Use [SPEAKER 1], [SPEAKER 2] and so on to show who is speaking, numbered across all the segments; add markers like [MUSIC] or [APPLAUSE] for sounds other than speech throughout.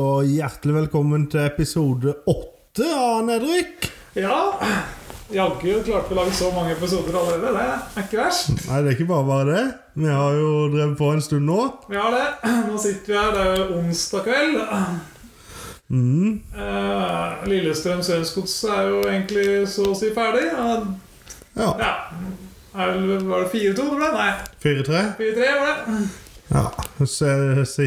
[SPEAKER 1] og hjertelig velkommen til episode åtte av Nedrykk.
[SPEAKER 2] Ja. Jaggu klarte vi å lage så mange episoder allerede. Det er ikke verst.
[SPEAKER 1] Nei, det er ikke bare bare det. Vi har jo drevet på en stund nå.
[SPEAKER 2] Vi har det. Nå sitter vi her. Det er jo onsdag kveld.
[SPEAKER 1] Mm.
[SPEAKER 2] Eh, Lillestrøm Sørensgods er jo egentlig så å si ferdig. og-
[SPEAKER 1] Ja.
[SPEAKER 2] Ja. Er vel- Var det 4-2 det ble? Nei,
[SPEAKER 1] 4-3.
[SPEAKER 2] 4-3 var det.
[SPEAKER 1] Ja. Se, se,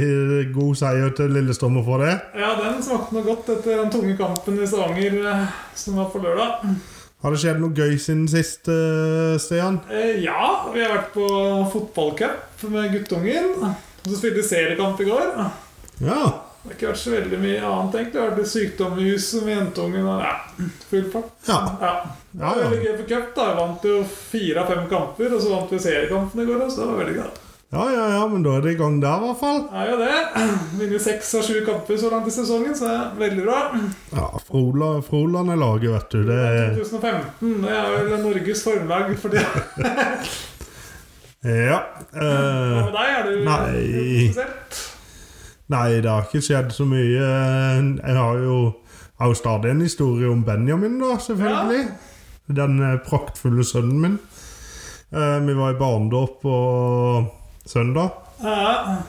[SPEAKER 1] god seier til Lillestrøm for det.
[SPEAKER 2] Ja, den smakte noe godt etter den tunge kampen i Stavanger eh, som var på lørdag.
[SPEAKER 1] Har det skjedd noe gøy siden sist, eh, Stian?
[SPEAKER 2] Eh, Ja, vi har vært på fotballcup med guttungen. Og så spilte vi seriekamp i går.
[SPEAKER 1] Ja.
[SPEAKER 2] Det har ikke vært så veldig mye annet, egentlig. Det har vært litt sykdom i huset med jentungen og ja, full fart.
[SPEAKER 1] Ja.
[SPEAKER 2] Ja. Det var
[SPEAKER 1] Ja, ja.
[SPEAKER 2] veldig gøy for cup, da. Jeg vant jo fire av fem kamper, og så vant vi seriekampen i går, da, så det var veldig gøy.
[SPEAKER 1] Ja, ja, ja, men da er det i gang der, i hvert fall.
[SPEAKER 2] Det er jo det. Vinner seks av sju kamper så langt i sesongen, så det er veldig bra.
[SPEAKER 1] Ja, Frola- Froland er laget, vet du. Det er
[SPEAKER 2] 2015, det er vel Norges formlag for det.
[SPEAKER 1] Ja.
[SPEAKER 2] Hva
[SPEAKER 1] eh,
[SPEAKER 2] med deg? Er du
[SPEAKER 1] Nei.
[SPEAKER 2] interessert?
[SPEAKER 1] Nei, det har ikke skjedd så mye. Jeg har jo, har jo stadig en historie om Benjamin, da, selvfølgelig. Den eh, praktfulle sønnen min. Eh, vi var i barnedåp på søndag.
[SPEAKER 2] Ja.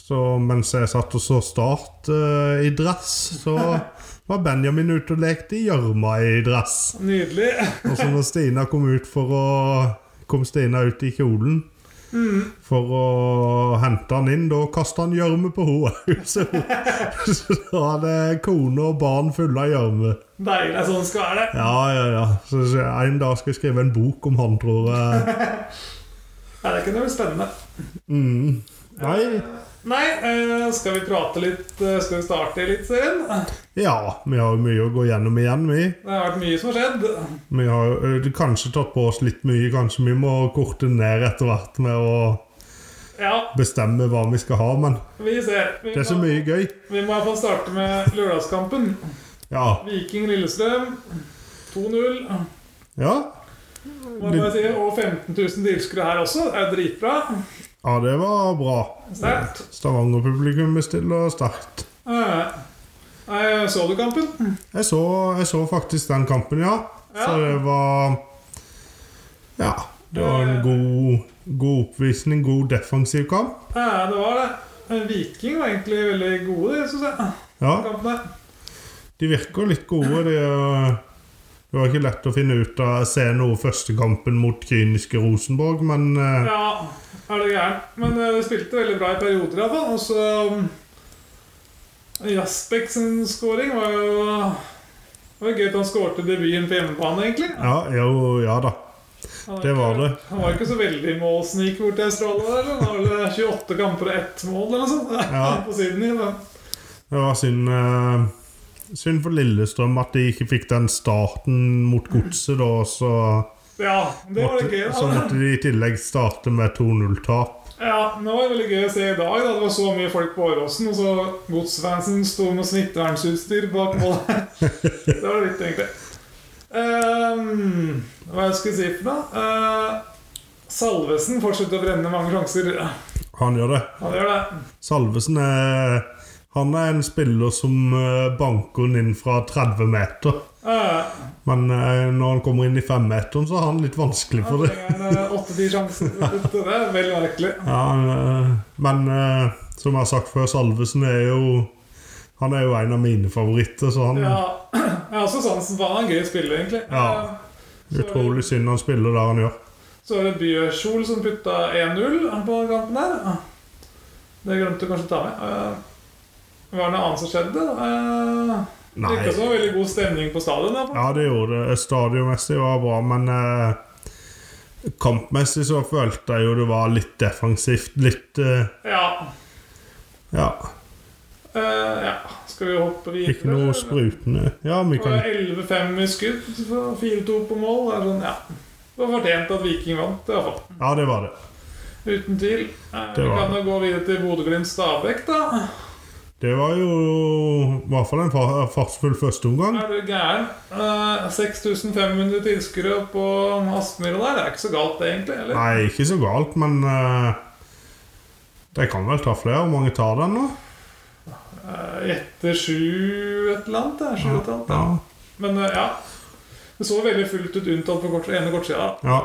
[SPEAKER 1] Så mens jeg satt og så Start eh, i dress, så var Benjamin ute og lekte i gjørma i dress.
[SPEAKER 2] Nydelig.
[SPEAKER 1] Og så når Stina kom ut for å Kom Stina ut i kjolen for å hente han inn, da kasta han gjørme på henne. [LAUGHS] Så, så da hadde kone og barn fulle av gjørme.
[SPEAKER 2] Deilig. det er Sånn skal det være.
[SPEAKER 1] Ja, ja, ja. Så så en dag skal jeg skrive en bok om han, tror jeg.
[SPEAKER 2] Ja, det kunne vært spennende.
[SPEAKER 1] Mm. Nei
[SPEAKER 2] Nei, eh, skal vi prate litt? eh, Skal vi starte litt, serien?
[SPEAKER 1] Ja, vi har jo mye å gå gjennom igjen, vi.
[SPEAKER 2] Det har vært mye som har skjedd.
[SPEAKER 1] Vi har jo ø, kanskje tatt på oss litt mye. Kanskje vi må korte ned etter hvert med å
[SPEAKER 2] Ja,
[SPEAKER 1] bestemme hva vi skal ha, men
[SPEAKER 2] vi ser. Vi
[SPEAKER 1] det er så
[SPEAKER 2] må,
[SPEAKER 1] mye gøy.
[SPEAKER 2] vi må iallfall starte med lørdagskampen.
[SPEAKER 1] Ja.
[SPEAKER 2] Viking-Lillestrøm 2-0.
[SPEAKER 1] Ja,
[SPEAKER 2] Må jeg bare si, Og 15 000 tilskuere her også. Det er dritbra.
[SPEAKER 1] ja det var bra.
[SPEAKER 2] Sterkt.
[SPEAKER 1] Stavanger-publikummet stiller sterkt.
[SPEAKER 2] Eh, eh, Så du kampen?
[SPEAKER 1] Jeg så, jeg så faktisk den kampen, ja. Så
[SPEAKER 2] Ja.
[SPEAKER 1] det var Ja. Det var en god, god oppvisning, god defensiv kamp.
[SPEAKER 2] Eh, Det var det. Eh, Viking var egentlig veldig gode, det syns jeg.
[SPEAKER 1] Ja,
[SPEAKER 2] Kampene.
[SPEAKER 1] De virker litt gode. De, eh, det var ikke lett å finne ut av se noe første kampen mot kyniske Rosenborg, men eh,
[SPEAKER 2] Ja, er det gærent. Men eh, de spilte veldig bra i perioder, iallfall. Og så um, Jasbek sin scoring var jo det var gøy at han skårte debuten på hjemmebane, egentlig.
[SPEAKER 1] ja, jo, ja da.
[SPEAKER 2] Han var
[SPEAKER 1] Det var
[SPEAKER 2] ikke-
[SPEAKER 1] det.
[SPEAKER 2] Han var ikke så veldig målsnik bort til Australia. der, eller? Han var vel 28 kamper og ett mål eller noe sånt
[SPEAKER 1] Ja.
[SPEAKER 2] på Sydney. Da.
[SPEAKER 1] Det var synd, eh, synd for Lillestrøm at de ikke fikk den starten mot Godset, da, så
[SPEAKER 2] Ja, det var litt gøy.
[SPEAKER 1] Så
[SPEAKER 2] Da.
[SPEAKER 1] måtte de i tillegg starte med 2-0-tap.
[SPEAKER 2] Ja, men Det var veldig gøy å se i dag. da Det var så mye folk på Åråsen. Og så godsfansen sto med smittevernutstyr bak
[SPEAKER 1] [LAUGHS]
[SPEAKER 2] målet. det var litt, egentlig. Ehm, hva jeg skulle si for noe? Eh, Salvesen fortsetter å brenne mange sjanser.
[SPEAKER 1] Han gjør det.
[SPEAKER 2] Han gjør det.
[SPEAKER 1] Salvesen er Han er en spiller som eh, banker den inn fra 30 meter.
[SPEAKER 2] Eh,
[SPEAKER 1] Men eh, når han kommer inn i femmeteren, så er han litt vanskelig
[SPEAKER 2] han
[SPEAKER 1] for det.
[SPEAKER 2] trenger åtte-ti eh, sjanser. Det er veldig merkelig.
[SPEAKER 1] Ja, han, eh, men eh, som jeg har sagt før, Salvesen er jo Han er jo en av mine favoritter, så han
[SPEAKER 2] Ja, [CLEARS THROAT] jeg har også sansen for han er en gøy spiller, egentlig.
[SPEAKER 1] Ja.
[SPEAKER 2] så-
[SPEAKER 1] Utrolig synd han spiller der han gjør.
[SPEAKER 2] Så var det Bjørshol som putta 1-0 på den kampen der. Det glemte du kanskje å ta med. Eh, Var det noe annet som skjedde? Eh, Det
[SPEAKER 1] Nei.
[SPEAKER 2] virka som det var veldig god stemning på stadion. da.
[SPEAKER 1] Ja, det gjorde det. Stadionmessig var det bra, men eh, kampmessig så følte jeg jo det var litt defensivt. Litt eh,
[SPEAKER 2] Ja.
[SPEAKER 1] Ja.
[SPEAKER 2] Eh, ja. Skal vi hoppe videre?
[SPEAKER 1] Ikke noe sprutende. Ja, vi
[SPEAKER 2] Det
[SPEAKER 1] kan
[SPEAKER 2] var 11-5 i skudd, så 4-2 på mål. Det er sånn, ja. Det var fortjent at Viking vant, i hvert fall.
[SPEAKER 1] Ja, det var det.
[SPEAKER 2] Uten tvil. Eh,
[SPEAKER 1] Det
[SPEAKER 2] vi
[SPEAKER 1] var
[SPEAKER 2] kan jo gå videre til Bodø-Glimt-Stabæk, da.
[SPEAKER 1] Det var jo i hvert fall en fa- fartsfull førsteomgang.
[SPEAKER 2] Er du gæren? Eh, 6500 tilskuere på Aspmyra der. Det er ikke så galt, det, egentlig. eller?
[SPEAKER 1] Nei, ikke så galt, men eh, de kan vel ta flere. Hvor mange tar den nå?
[SPEAKER 2] Eh, etter sju et eller annet. Det, sju et eller annet
[SPEAKER 1] Ja.
[SPEAKER 2] ja. Men eh, ja. Det så veldig fullt ut unntatt på kort, ene kortsida.
[SPEAKER 1] ja.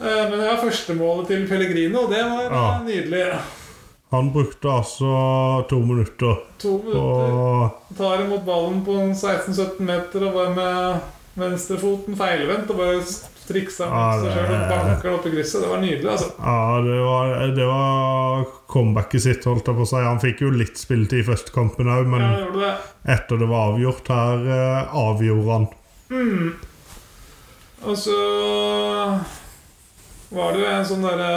[SPEAKER 2] Eh, Men ja, førstemålet til Pellegrino, det var eh,
[SPEAKER 1] Ja.
[SPEAKER 2] nydelig.
[SPEAKER 1] Han brukte altså to minutter
[SPEAKER 2] To
[SPEAKER 1] på
[SPEAKER 2] minutter. Tar imot ballen på en 16-17 meter og bare med venstrefoten feilvendt og bare
[SPEAKER 1] Ja,
[SPEAKER 2] striksa mot seg sjøl og
[SPEAKER 1] det-
[SPEAKER 2] banker den opp i krysset. Det var nydelig, altså.
[SPEAKER 1] Ja, det var, det var comebacket sitt, holdt jeg på å si. Han fikk jo litt spilletid i første kampen òg, men
[SPEAKER 2] Ja, gjorde det.
[SPEAKER 1] etter det var avgjort her, eh, avgjorde han.
[SPEAKER 2] Og så var det jo en sånn derre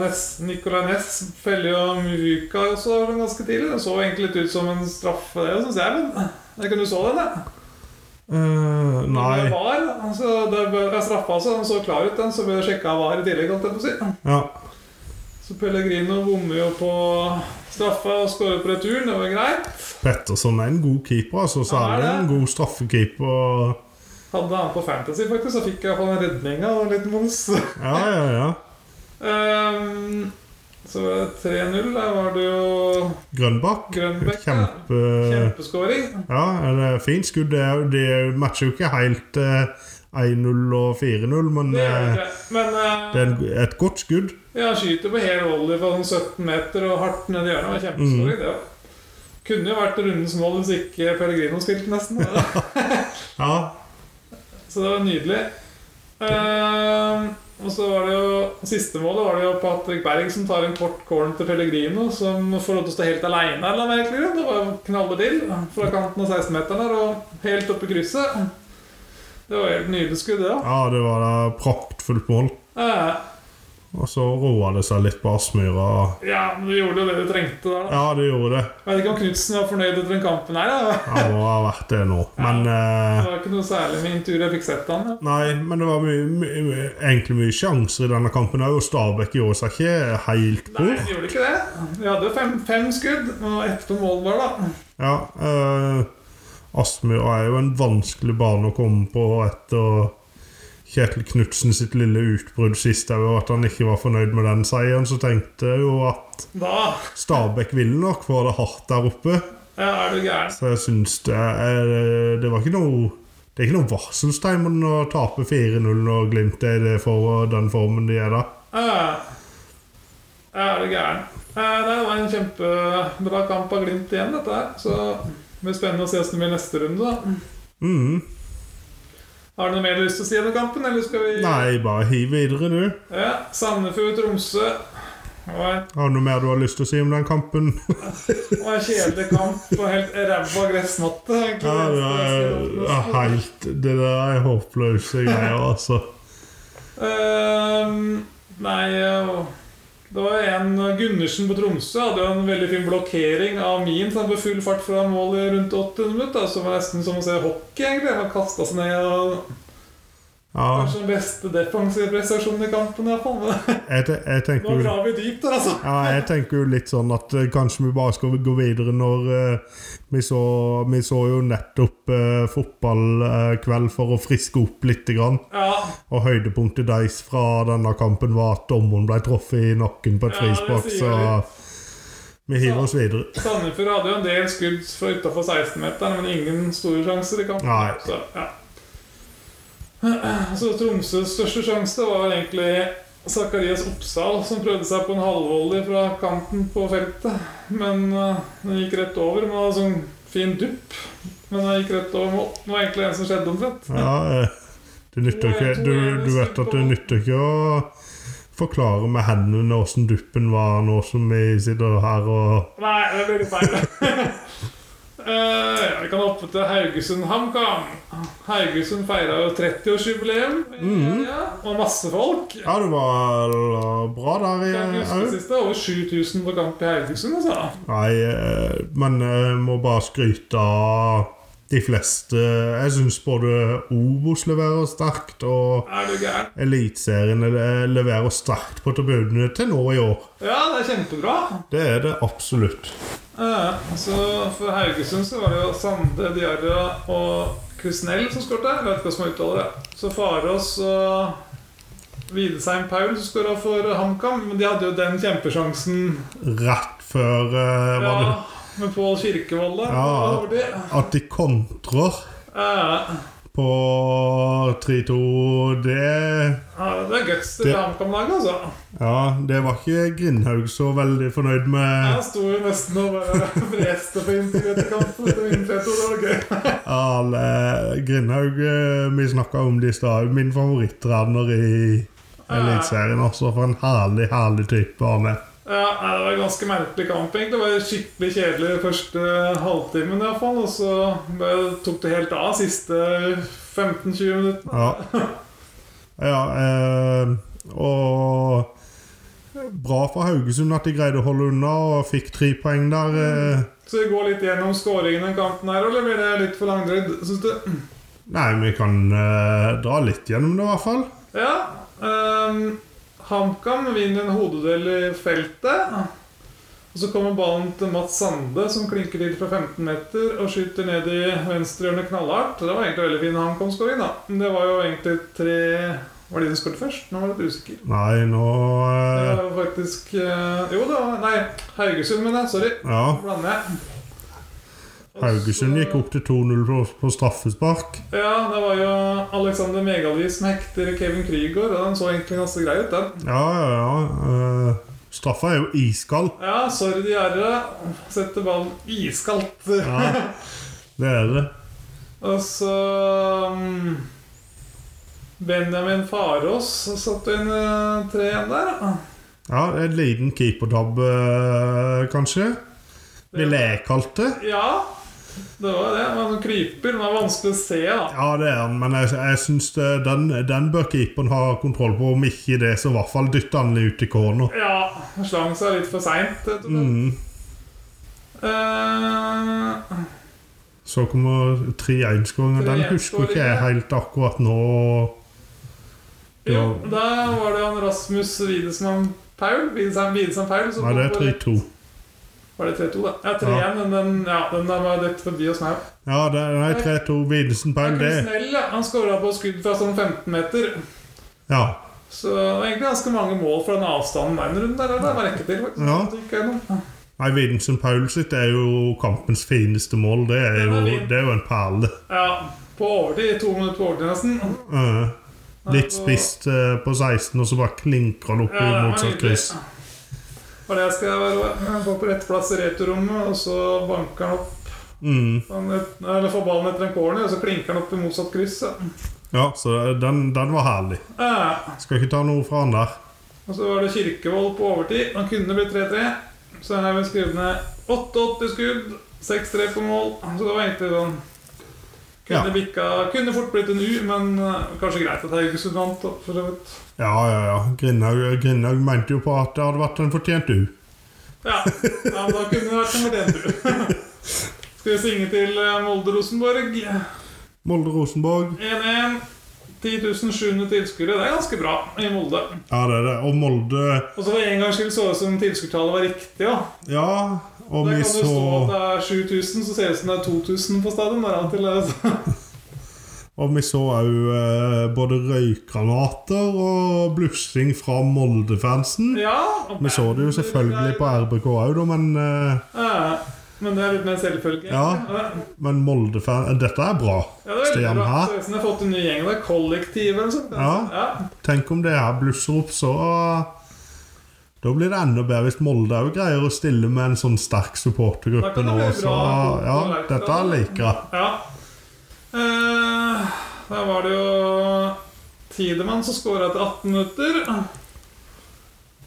[SPEAKER 2] Ness- Nicolai Næss feller jo Muruka også ganske tidlig. Det så egentlig litt ut som en straffe, det syns jeg. Men jeg kunne så den, jeg.
[SPEAKER 1] Eh,
[SPEAKER 2] Det
[SPEAKER 1] nei
[SPEAKER 2] var, altså, det ble straffa, så den så klar ut, den. Så ble det sjekka var i tillegg, holdt jeg på å si.
[SPEAKER 1] Ja.
[SPEAKER 2] Så Pellegrino bommer jo på straffa og skårer på returen. Det var greit.
[SPEAKER 1] Petterson er en god keeper, altså.
[SPEAKER 2] Han er
[SPEAKER 1] Særlig
[SPEAKER 2] det.
[SPEAKER 1] en god straffekeeper.
[SPEAKER 2] Hadde han på Fantasy, faktisk, så fikk jeg iallfall en redning av en liten mons.
[SPEAKER 1] Ja, ja, ja.
[SPEAKER 2] [LAUGHS] Ehm, så var det 3-0. Der var det jo
[SPEAKER 1] Grønbakk.
[SPEAKER 2] Grønbekk. ja.
[SPEAKER 1] Kjempe...
[SPEAKER 2] Kjempeskåring.
[SPEAKER 1] Ja, det er fint skudd. Det, er jo- det matcher jo ikke helt eh, 1-0 og 4-0, men
[SPEAKER 2] Det gjør det
[SPEAKER 1] eh,
[SPEAKER 2] ikke. Men eh,
[SPEAKER 1] det er en, et godt skudd.
[SPEAKER 2] ja, han skyter på hel volley fra sånn 17 meter og hardt ned i hjørnet. Det var Kjempeskåring, det òg. Kunne jo vært rundens mål hvis ikke Pellegrino spilte, nesten.
[SPEAKER 1] Ja,
[SPEAKER 2] Så det var nydelig. Ehm, og så var det jo Siste målet var det jo Patrick Berg som tar en kort corn til Pellegrino, som får lov til å stå helt aleine. eller noe merkelig. Det var knaller til fra kanten av 16-meteren der og helt opp i krysset. Det var helt nydelig skudd, det. da.
[SPEAKER 1] ja det var da praktfullt mål.
[SPEAKER 2] Eh,
[SPEAKER 1] Og så roa det seg litt på Aspmyra.
[SPEAKER 2] Ja, men du gjorde jo det du trengte der, da.
[SPEAKER 1] Ja, det gjorde det.
[SPEAKER 2] Jeg vet ikke om Knutsen var fornøyd etter den kampen her. da.
[SPEAKER 1] Han må ha vært det nå. Men eh,
[SPEAKER 2] Det var ikke noe særlig med intervjuet jeg fikk sett han. da.
[SPEAKER 1] Nei, men det var mye, mye, mye- egentlig mye sjanser i denne kampen òg, og Stabæk gjorde seg ikke helt
[SPEAKER 2] Nei,
[SPEAKER 1] bort.
[SPEAKER 2] de gjorde ikke det. Vi hadde jo fem, fem skudd, og ett på mål var da.
[SPEAKER 1] Ja, eh, Aspmyra er jo en vanskelig bane å komme på etter Kjetil Knutsen sitt lille utbrudd sist òg, og at han ikke var fornøyd med den seieren. Så tenkte jeg jo at
[SPEAKER 2] Da
[SPEAKER 1] Stabæk ville nok få det hardt der oppe.
[SPEAKER 2] ja, er du gæren.
[SPEAKER 1] Så jeg syns det er eh, Det var ikke noe det er ikke noe varselstegn om å tape 4-0 og Glimt er i det for den formen de er da.
[SPEAKER 2] Eh, er du gæren. Eh, det var en kjempebra kamp av Glimt igjen, dette her. Så det blir spennende å se hvordan det blir neste runde, da.
[SPEAKER 1] Mm.
[SPEAKER 2] Har du noe mer du har lyst til å si om kampen, eller skal vi
[SPEAKER 1] Nei, bare hiv videre, du.
[SPEAKER 2] Ja, Sandefjord-Tromsø. Det var en-
[SPEAKER 1] Har du noe mer du har lyst til å si om den kampen?
[SPEAKER 2] det var en kjedelig kamp på helt ræva gressmatte. egentlig.
[SPEAKER 1] Ja, det er, ja, helt Det der er håpløse greier, altså.
[SPEAKER 2] Ehm, nei eh, Det var en Gundersen på Tromsø hadde jo en veldig fin blokkering av min som på full fart fra målet rundt 800 minutter. Så var det nesten som å se hockey, egentlig. Han kasta seg ned og
[SPEAKER 1] Ja,
[SPEAKER 2] Kanskje den beste defensive prestasjonen i kampen. i hvert fall.
[SPEAKER 1] jeg, te- jeg tenker
[SPEAKER 2] Nå
[SPEAKER 1] jo
[SPEAKER 2] graver vi dypt der, altså.
[SPEAKER 1] ja, jeg tenker jo litt sånn at eh, kanskje vi bare skal gå videre når eh, vi, så, vi så jo nettopp eh, fotballkveld for å friske opp litt. Grann.
[SPEAKER 2] Ja,
[SPEAKER 1] Og høydepunktet deres fra denne kampen var at dommeren ble truffet i nakken på et
[SPEAKER 2] Ja, det
[SPEAKER 1] frispark,
[SPEAKER 2] sier
[SPEAKER 1] så
[SPEAKER 2] litt.
[SPEAKER 1] vi hiver oss videre.
[SPEAKER 2] Sandefjord hadde jo en del skudd fra utafor 16-meteren, men ingen store sjanser i kampen.
[SPEAKER 1] Nei.
[SPEAKER 2] Så, ja. Så Tromsøs største sjanse var egentlig Zakarias Oppsal, som prøvde seg på en halvvolley fra kanten på feltet. Men eh, den gikk rett over med en sånn fin dupp. Men den gikk rett over mål. Det var egentlig en som skjedde omtrent.
[SPEAKER 1] Ja, eh, det nytter jo ikke du, du vet at det nytter ikke å forklare med hendene åssen duppen var nå som vi sitter her og
[SPEAKER 2] Nei, det ble litt feil. [LAUGHS] Eh, ja, vi kan hoppe til Haugesund HamKam. Haugesund feira jo 30-årsjubileum. i helga, Og masse folk.
[SPEAKER 1] Ja, det var bra der eh, i
[SPEAKER 2] Jeg husker det
[SPEAKER 1] òg.
[SPEAKER 2] siste, over 7000 på kamp i Haugesund, altså.
[SPEAKER 1] Nei, eh, men jeg må bare skryte av de fleste. Jeg syns både Obos leverer sterkt, og
[SPEAKER 2] Er du gæren?
[SPEAKER 1] Eliteserien le- leverer sterkt på tribunene til nå i år.
[SPEAKER 2] Ja, det er kjempebra.
[SPEAKER 1] Det er det absolutt.
[SPEAKER 2] Eh, så for Haugesund så var det jo Sande, Diarra og Krusnell som skårte. Jeg vet ikke hva som uttaler det. Så Farås og Videsheim Paul som skåra for HamKam. Men de hadde jo den kjempesjansen.
[SPEAKER 1] Rett før eh, var det
[SPEAKER 2] Ja, med Pål Kirkevold der.
[SPEAKER 1] Ja.
[SPEAKER 2] Hva var det? Eh,
[SPEAKER 1] At de kontrer
[SPEAKER 2] Ja,
[SPEAKER 1] på 3-2 Det
[SPEAKER 2] ja, eh, det er guts
[SPEAKER 1] Det-
[SPEAKER 2] til HamKam-laget, altså.
[SPEAKER 1] Ja, det var ikke Grindhaug så veldig fornøyd med
[SPEAKER 2] Jeg sto jo nesten og bare [LAUGHS] freste på inntil etter kampen. etter innfett, og Det var gøy.
[SPEAKER 1] alle Grindhaug eh, Vi snakka om det i stad. Min favorittrenner i Eliteserien også. For en herlig, herlig type. Arne.
[SPEAKER 2] Ja, nei, Det var en ganske merkelig kamp. egentlig Det var skikkelig kjedelig første halvtimen. i hvert fall Og så bare tok det helt av siste 15-20 minutter.
[SPEAKER 1] Ja. ja eh, og Bra for Haugesund at de greide å holde unna og fikk tre poeng der. Eh.
[SPEAKER 2] Så vi går litt gjennom skåringene i kampen her, eller blir det litt for langdrydd? Synes du?
[SPEAKER 1] Nei, vi kan eh, dra litt gjennom det, i hvert fall.
[SPEAKER 2] Ja. ehm, HamKam vinner en hodedel i feltet. Og så kommer ballen til Mats Sande, som klinker til fra 15 meter og skyter ned i venstrehjørnet knallhardt. Det var egentlig veldig fin HamKam-skåring, da. Men det var jo egentlig tre Var det de som skåret først? Nå var jeg litt usikker.
[SPEAKER 1] Nei, nå
[SPEAKER 2] Det
[SPEAKER 1] eh,
[SPEAKER 2] var jo faktisk eh, Jo da, nei, Haugesund, mener jeg. Sorry.
[SPEAKER 1] Ja.
[SPEAKER 2] Blander jeg. Og
[SPEAKER 1] Haugesund
[SPEAKER 2] så-
[SPEAKER 1] gikk opp til 2-0 på- på straffespark.
[SPEAKER 2] Ja, det var jo Alexander Megalvi som hekter Kevin Krygård. og Den så egentlig ganske grei ut, den.
[SPEAKER 1] Ja, ja, ja. eh, straffa er jo iskald.
[SPEAKER 2] Ja, sorry, de gjerdet. Setter ballen iskaldt.
[SPEAKER 1] Ja, det er det.
[SPEAKER 2] Og så mm, Benjamin Farås satte inn eh, tre igjen der. da.
[SPEAKER 1] Ja, det er En liten keepertabbe, eh, kanskje. Ville jeg kalt det.
[SPEAKER 2] Ja, det var det. Man kryper. Det var vanskelig å se, da.
[SPEAKER 1] Ja, det er han, men jeg, jeg syns det- den, den bør keeperen ha kontroll på. Om ikke det, så i hvert fall dytte han ut i corner.
[SPEAKER 2] Ja, slang seg litt for seint. rett og slett.
[SPEAKER 1] Mm.
[SPEAKER 2] Eh,
[SPEAKER 1] Så kommer 3-1-skåringen. Den husker ikke jeg helt akkurat nå.
[SPEAKER 2] jo,
[SPEAKER 1] Ja.
[SPEAKER 2] da var det han Rasmus Widesmann Paul. Widesheim Widesheim Paul som
[SPEAKER 1] Nei, det er
[SPEAKER 2] kom på-
[SPEAKER 1] 3-2.
[SPEAKER 2] Var det 3-2, da? Ja, 3-1. Men den, ja, den der var dett forbi oss nå.
[SPEAKER 1] Ja, det er nei, 3-2. Widersen Paul,
[SPEAKER 2] Knut
[SPEAKER 1] det.
[SPEAKER 2] Snell, ja, han skåra på skudd fra sånn 15 meter.
[SPEAKER 1] Ja.
[SPEAKER 2] Så det var egentlig ganske mange mål fra den avstanden den runden der. eller? Det var rekke til, faktisk.
[SPEAKER 1] Ja.
[SPEAKER 2] Det gikk gjennom.
[SPEAKER 1] Nei, Vidensen Paul sitt er jo kampens fineste mål. Det er
[SPEAKER 2] Den
[SPEAKER 1] jo,
[SPEAKER 2] er fin.
[SPEAKER 1] det er jo en perle.
[SPEAKER 2] Ja, på overtid. To minutter på overtid, nesten.
[SPEAKER 1] Eh, litt
[SPEAKER 2] Ja, og-
[SPEAKER 1] spist eh, på 16, og så bare klinker han opp i
[SPEAKER 2] det var
[SPEAKER 1] motsatt
[SPEAKER 2] nydelig.
[SPEAKER 1] kryss.
[SPEAKER 2] Og det skal jeg være på på rett plass i returrommet, og så banker han opp
[SPEAKER 1] Mm.
[SPEAKER 2] han et, Eller får ballen etter en corner, og så klinker han opp i motsatt kryss. ja.
[SPEAKER 1] Ja, så den, den var herlig.
[SPEAKER 2] Eh,
[SPEAKER 1] Skal ikke ta noe fra han der.
[SPEAKER 2] og så var det Kirkevold på overtid. Han kunne blitt 3-3. Så her har vi skrevet ned 88 skudd, 6-3 på mål. Så det var egentlig sånn Kunne,
[SPEAKER 1] Ja.
[SPEAKER 2] bikka, kunne fort blitt en U, men eh, kanskje greit at Haugesund vant. da, for så vidt.
[SPEAKER 1] Ja, ja, ja. Grindhaug Grindhaug mente jo på at det hadde vært en fortjent U.
[SPEAKER 2] Ja, ja men da kunne det vært nummer én, du. [LAUGHS] Skal vi synge til eh, Molde-Rosenborg?
[SPEAKER 1] Molde-Rosenborg.
[SPEAKER 2] 1-1. 10.700 tilskuere. Det er ganske bra i Molde.
[SPEAKER 1] Ja, det er det. Og Molde
[SPEAKER 2] Og så for en gangs skyld så det ut som tilskuertallet var riktig. Ja.
[SPEAKER 1] Ja, og vi
[SPEAKER 2] Da kan det stå
[SPEAKER 1] så,
[SPEAKER 2] at det er 7000, så ser det ut som det er 2000 på stadion. Der, alt til, altså.
[SPEAKER 1] og vi så òg eh, både røykgranater og blussing fra Molde-fansen.
[SPEAKER 2] [LAUGHS] ja,
[SPEAKER 1] Vi så det jo selvfølgelig på RBK òg, da, men, eh,
[SPEAKER 2] Ja, Men det er litt mer selvfølge.
[SPEAKER 1] Ja.
[SPEAKER 2] egentlig.
[SPEAKER 1] men Molde-fan eh, Dette er bra.
[SPEAKER 2] ja det er veldig
[SPEAKER 1] Stian
[SPEAKER 2] bra.
[SPEAKER 1] her.
[SPEAKER 2] Så det er som de har fått en ny gjeng. Det er kollektiv eller noe sånt.
[SPEAKER 1] Ja.
[SPEAKER 2] Ja.
[SPEAKER 1] Tenk om det her blusser opp, så eh, Da blir det enda bedre hvis Molde òg greier å stille med en sånn sterk
[SPEAKER 2] Da kan
[SPEAKER 1] supportergruppe
[SPEAKER 2] det
[SPEAKER 1] nå.
[SPEAKER 2] bli
[SPEAKER 1] Så
[SPEAKER 2] bra.
[SPEAKER 1] ja, dette liker jeg.
[SPEAKER 2] ja. Eh, der var det jo Tidemann som skåra etter 18 minutter.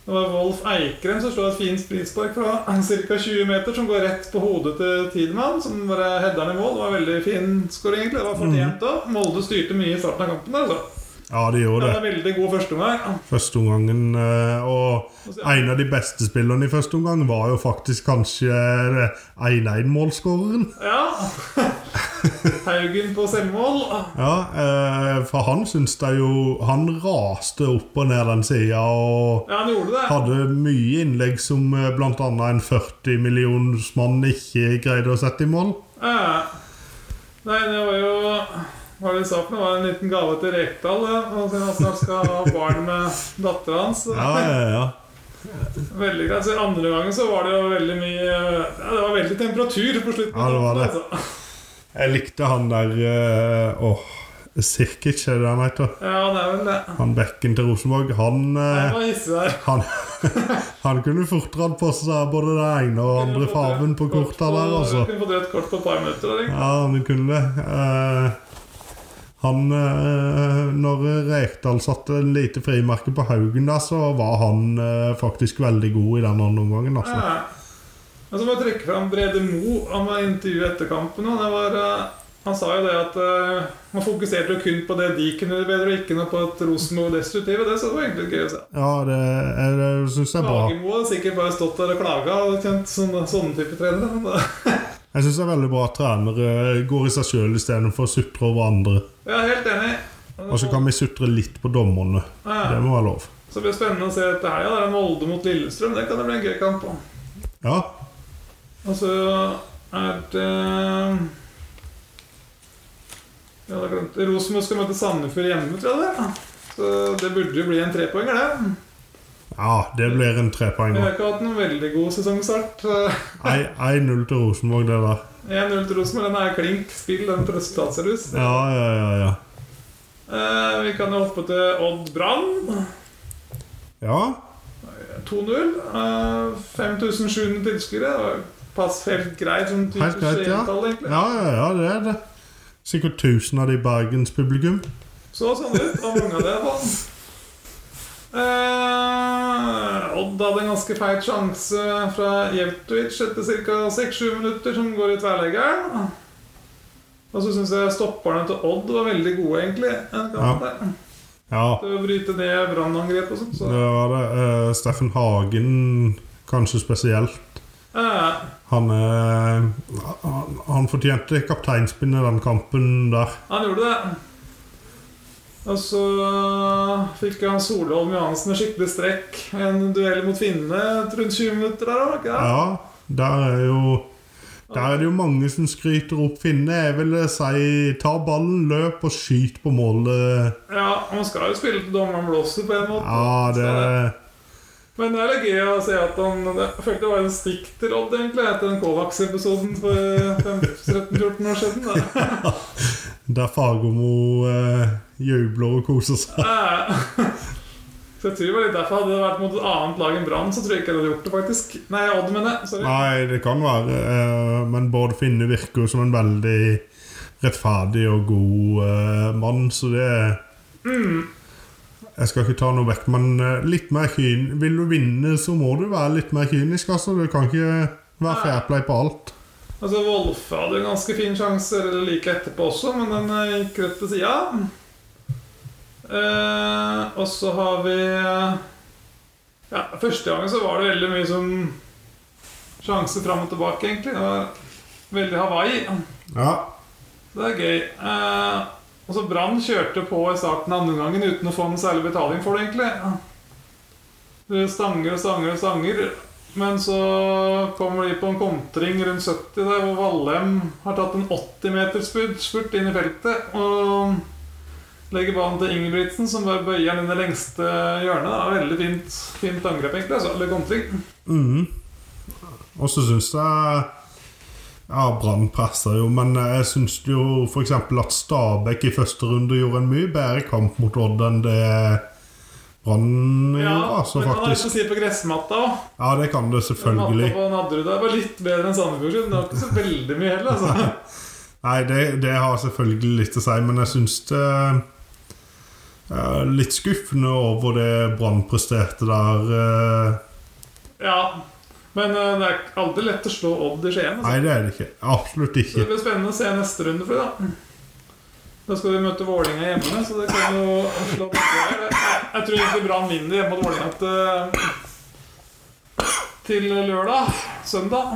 [SPEAKER 2] Det var Wolf Eikrem som slo et fint frispark fra ca. 20 meter, som går rett på hodet til Tidemann, som bare header han i mål. Det var en veldig fin skåring, egentlig. Det var fortjent òg. Molde styrte mye i starten av kampen. Altså.
[SPEAKER 1] Ja, de
[SPEAKER 2] Det
[SPEAKER 1] gjorde
[SPEAKER 2] var
[SPEAKER 1] det.
[SPEAKER 2] en veldig god førsteomgang.
[SPEAKER 1] Første omgangen eh, Og en av de beste spillerne i første omgang var jo faktisk kanskje eh, 1-1-målskåreren.
[SPEAKER 2] Ja. Haugen på selvmål.
[SPEAKER 1] Ja, eh, for han syns det jo Han raste opp og ned den sida og
[SPEAKER 2] Ja, han gjorde det.
[SPEAKER 1] Hadde mye innlegg som eh, blant annet en 40 millioners mann ikke greide å sette i mål.
[SPEAKER 2] Ja. Nei, det var jo Hva var det de sa for noe? Det var en liten gave til Rekdal. ja. Han sier han snart skal ha barn med dattera hans.
[SPEAKER 1] Ja, ja, ja.
[SPEAKER 2] Veldig greit. Så andre gangen så var det jo veldig mye ja, Det var veldig temperatur på slutten.
[SPEAKER 1] Ja, det var det.
[SPEAKER 2] Altså.
[SPEAKER 1] Jeg likte han der eh, Åh, Sirkic, er det han heter?
[SPEAKER 2] Ja, det er vel det.
[SPEAKER 1] Han bekken til Rosenborg. Han,
[SPEAKER 2] Det
[SPEAKER 1] eh,
[SPEAKER 2] var hissig der.
[SPEAKER 1] han, [LAUGHS] han kunne fort dratt på seg både den ene og den andre farven på korta der, altså.
[SPEAKER 2] Kunne fått rødt kort på et par minutter. eller?
[SPEAKER 1] Ja, han kunne det. Eh, han eh, Når Rekdal satte en lite frimerke på Haugen der, så var han eh, faktisk veldig god i den andre omgangen,
[SPEAKER 2] Ja.
[SPEAKER 1] altså.
[SPEAKER 2] Og så må jeg trekke fram Brede Mo. Han var i intervju etter kampen. Og det var, eh, han sa jo det at eh, man fokuserte jo kun på det de kunne gjøre bedre, og ikke noe på at Rosenborg destruktive. Det så det var egentlig gøy å se.
[SPEAKER 1] Ja, det, er- det syns jeg er bra.
[SPEAKER 2] Hagemo hadde sikkert bare stått der og klaga og kjent sånne, sånne type trenere. men da-
[SPEAKER 1] Jeg syns det er veldig bra at trenere eh, går i seg sjøl istedenfor å sutre over andre.
[SPEAKER 2] Jeg er helt enig.
[SPEAKER 1] Og så kan vi sutre litt på dommerne.
[SPEAKER 2] Ja.
[SPEAKER 1] Det må være lov.
[SPEAKER 2] Så det blir spennende å se etter helga. Det er Molde mot Lillestrøm. Det kan det bli en gøy kamp. om.
[SPEAKER 1] Ja.
[SPEAKER 2] Og så er det Ja, da glemte jeg. Rosenborg skal møte Sandefjord hjemme, tror jeg det. er. Så det burde jo bli en trepoenger, det.
[SPEAKER 1] ja, det blir en
[SPEAKER 2] Vi har
[SPEAKER 1] trepoenger.
[SPEAKER 2] ikke hatt noen veldig god sesongstart.
[SPEAKER 1] 1-0 til Rosenborg, det der.
[SPEAKER 2] 1-0 til Rosenborg. Den er klink spill, den på resultatservice.
[SPEAKER 1] Ja, ja, ja. ja.
[SPEAKER 2] Eh, vi kan jo hoppe til Odd Brann.
[SPEAKER 1] ja.
[SPEAKER 2] 2-0. Eh, 5700 tilskuere. Det var Pass helt greit som type
[SPEAKER 1] Helt greit, ja.
[SPEAKER 2] skjevetall, egentlig.
[SPEAKER 1] Ja, ja, ja, det er det. Sikkert 1000 av de i Bergens publikum.
[SPEAKER 2] Så sånn ut, og mange av det var eh, Odd hadde en ganske feit sjanse fra Jevtovic etter ca. 6-7 minutter, som går i tverrleggeren. Og så syns jeg stopperne til Odd var veldig gode, egentlig. eh,
[SPEAKER 1] Ja.
[SPEAKER 2] der.
[SPEAKER 1] Ja,
[SPEAKER 2] Til å bryte ned brannangrep og sånn. Så.
[SPEAKER 1] det var det. Eh, Steffen Hagen kanskje spesielt.
[SPEAKER 2] Eh,
[SPEAKER 1] Han, eh, han, han fortjente kapteinspinn i den kampen der.
[SPEAKER 2] han gjorde det. Og så fikk han Solholm Johansen en skikkelig strekk. En duell mot finnene rundt 20 minutter der òg, ikke det?
[SPEAKER 1] Ja, der er jo Der er det jo mange som skryter opp finne. Jeg vil si ta ballen, løp og skyt på målet.
[SPEAKER 2] Ja, Man skal jo spille til dommeren blåser, på en måte.
[SPEAKER 1] Ja, det
[SPEAKER 2] Så- Men det er litt gøy å se at han Jeg følte det var en stikk til Odd, egentlig, etter den Kovacs-episoden for eh, 13-14 år siden.
[SPEAKER 1] [LAUGHS]
[SPEAKER 2] Da.
[SPEAKER 1] Der Fagermo eh, jubler og koser seg.
[SPEAKER 2] Eh, Så jeg tror det var litt derfor. Hadde det vært mot et annet lag enn Brann, så tror jeg ikke jeg hadde gjort det, faktisk. Nei, Odd, mener jeg. Sorry.
[SPEAKER 1] Nei, det kan være, eh, men Bård Finne virker jo som en veldig rettferdig og god eh, mann, så det Jeg skal ikke ta noe vekk, men eh, litt mer kyn. Vil du vinne, så må du være litt mer kynisk, altså. Du kan ikke være fair play på alt.
[SPEAKER 2] Altså, Wolfe hadde en ganske fin sjanse eller like etterpå også, men den eh, gikk rett til sida. Eh, og så har vi eh, Ja, første gangen så var det veldig mye som sjanse fram og tilbake, egentlig. Det var veldig Hawaii.
[SPEAKER 1] Ja.
[SPEAKER 2] Det er gøy. Eh, og så Brann kjørte på i starten av andre gangen uten å få noe særlig betaling for det, egentlig. Det stanger og stanger og stanger. Men så kommer de på en kontring rundt 70 der hvor Valheim har tatt en 80 meters spurt, spurt inn i feltet. Og legger ballen til Ingebrigtsen, som bare bøyer den inn i det lengste hjørnet. Da. Veldig fint, fint angrep, egentlig. Altså, eller kontring.
[SPEAKER 1] Mhm. Og så syns jeg Ja, Brann presser jo, men jeg syns jo f.eks. at Stabæk i første runde gjorde en mye bedre kamp mot Odd enn det Brann gjorde, altså,
[SPEAKER 2] men han har litt
[SPEAKER 1] faktisk.
[SPEAKER 2] å si på gressmatta òg.
[SPEAKER 1] Ja, det kan det selvfølgelig.
[SPEAKER 2] Matta på Nadderud der var litt bedre enn Sandefjord sin. Det var ikke så veldig mye heller, altså.
[SPEAKER 1] Nei, det, det har selvfølgelig litt å si, men jeg syns det er litt skuffende over det Brann presterte der. eh.
[SPEAKER 2] Ja, men eh, det er aldri lett å slå Odd i Skien. Altså.
[SPEAKER 1] Nei, det er det ikke. Absolutt
[SPEAKER 2] Så det
[SPEAKER 1] ikke.
[SPEAKER 2] blir spennende å se neste runde for det. Da. da skal vi møte Vålinga hjemme, så det kan jo slå begge veier. Jeg jeg tror egentlig Brann vinner hjemme mot Vålinga til, til lørdag. Søndag.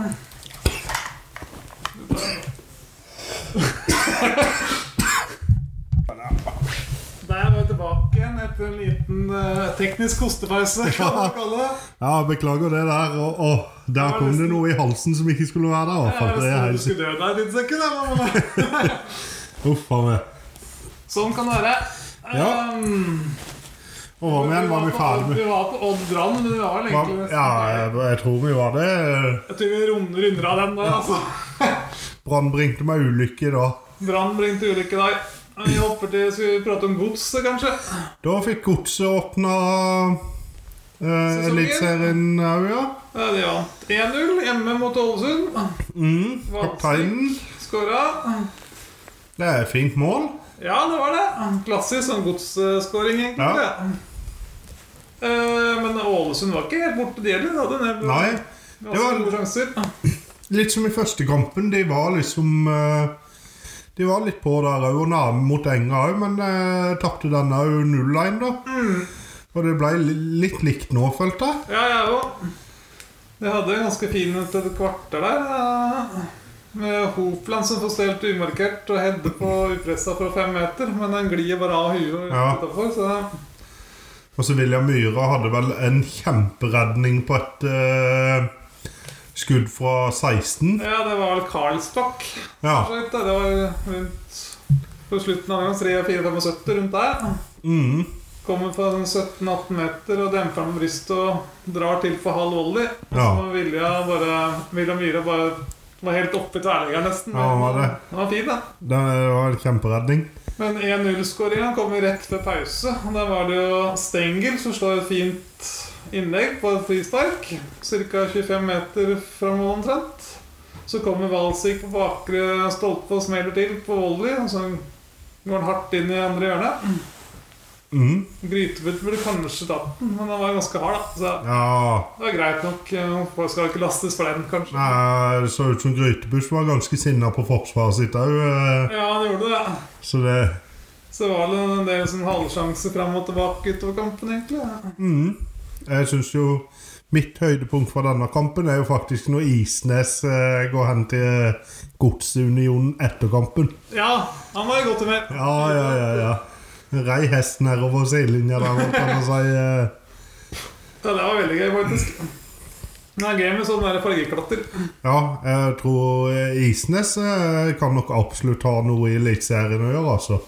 [SPEAKER 2] Der var vi tilbake igjen etter en liten eh, teknisk kostepause. Kan man kalle det.
[SPEAKER 1] Ja, beklager det der. Og, og der
[SPEAKER 2] var
[SPEAKER 1] kom det
[SPEAKER 2] nesten-
[SPEAKER 1] noe i halsen som ikke skulle være der. i hvert fall. Det er
[SPEAKER 2] Jeg
[SPEAKER 1] helt
[SPEAKER 2] skulle dø der litt sekund, jeg, men- eh,
[SPEAKER 1] sikkert. Uff a meg.
[SPEAKER 2] Sånn kan det være.
[SPEAKER 1] Ja.
[SPEAKER 2] Ehm,
[SPEAKER 1] Og hva med en? Var vi ferdig med
[SPEAKER 2] Vi var på Odd Brann, men vi var vel
[SPEAKER 1] hva,
[SPEAKER 2] egentlig nesten
[SPEAKER 1] Ja,
[SPEAKER 2] ferdig.
[SPEAKER 1] jeg, jeg tror vi var det.
[SPEAKER 2] Jeg tror vi runder- runder av den der, altså.
[SPEAKER 1] Brann bringte meg ulykke da.
[SPEAKER 2] Brann bringte ulykke der. Vi hopper til Skal vi prate om godset, kanskje?
[SPEAKER 1] Da fikk Godset åpna eh,
[SPEAKER 2] Sesongen.
[SPEAKER 1] Eliteserien òg, ja.
[SPEAKER 2] Ja, De vant 1-0 hjemme mot Ålesund.
[SPEAKER 1] Mm, kapteinen.
[SPEAKER 2] Skåra.
[SPEAKER 1] Det er et fint mål.
[SPEAKER 2] Ja, det var det. Klassisk sånn godsskåring, egentlig.
[SPEAKER 1] Ja.
[SPEAKER 2] det. Eh, Men Ålesund var ikke helt borte, de heller. De hadde en del-
[SPEAKER 1] Nei.
[SPEAKER 2] ganske
[SPEAKER 1] var-
[SPEAKER 2] gode sjanser.
[SPEAKER 1] Litt som i første kampen. De var liksom eh, De var litt på der òg, og nærme mot Enga òg, men eh, tapte denne òg 0-1, da.
[SPEAKER 2] Mm.
[SPEAKER 1] Og det ble li litt likt nå, følte jeg.
[SPEAKER 2] Ja, jeg òg. Jeg hadde en ganske fin et et kvarter der. eh, Med Hopland som får stelt umarkert og hedde på upressa fra fem meter. Men den glir bare av huet
[SPEAKER 1] Ja.
[SPEAKER 2] utenfor, så
[SPEAKER 1] Og så William Myhre hadde vel en kjemperedning på et eh, skudd fra 16.
[SPEAKER 2] Ja, det var vel Karlsbakk.
[SPEAKER 1] Ja.
[SPEAKER 2] for så vidt, da. Det var rundt på slutten av gangen. 73-75 rundt der.
[SPEAKER 1] Mm.
[SPEAKER 2] Kommer på en 17-18 meter og demper han med brystet og drar til for halv volley. Og
[SPEAKER 1] Ja.
[SPEAKER 2] Så Vilja bare William Myhre bare var helt oppe i tverrleggeren nesten.
[SPEAKER 1] Ja, han var det.
[SPEAKER 2] Han var fin, da.
[SPEAKER 1] Det var en kjemperedning.
[SPEAKER 2] Men 1-0-skåringa kom jo rett før pause. og Der var det jo Stengel som slår et fint innlegg på et frispark. Ca. 25 meter framover omtrent. Så kommer Walsik på bakre stolpe og smeller til på volley. Og så går han hardt inn i andre hjørnet.
[SPEAKER 1] Mm.
[SPEAKER 2] Grytebutt burde kanskje tatt den, men den var ganske hard, da. Så
[SPEAKER 1] Ja
[SPEAKER 2] Det var greit nok. Folk skal ikke lastes for den, kanskje.
[SPEAKER 1] Nei, Det så ut som Grytebuss var ganske sinna på forsvaret sitt òg.
[SPEAKER 2] Ja, han gjorde det.
[SPEAKER 1] Så det
[SPEAKER 2] Så var det en del sånn halvsjanser fram og tilbake utover kampen, egentlig.
[SPEAKER 1] mm. Jeg syns jo mitt høydepunkt fra denne kampen er jo faktisk når Isnes eh, går hen til Godsunionen etter kampen.
[SPEAKER 2] Ja, han var i godt humør.
[SPEAKER 1] Ja, ja, ja. ja. Rei hest nedover sidelinja der, hva kan man si. eh.
[SPEAKER 2] Ja, det var veldig gøy, faktisk. Det er gøy med sånn der fargeklatter.
[SPEAKER 1] Ja, jeg tror eh, Isnes eh, kan nok absolutt ha noe i Eliteserien å gjøre, altså.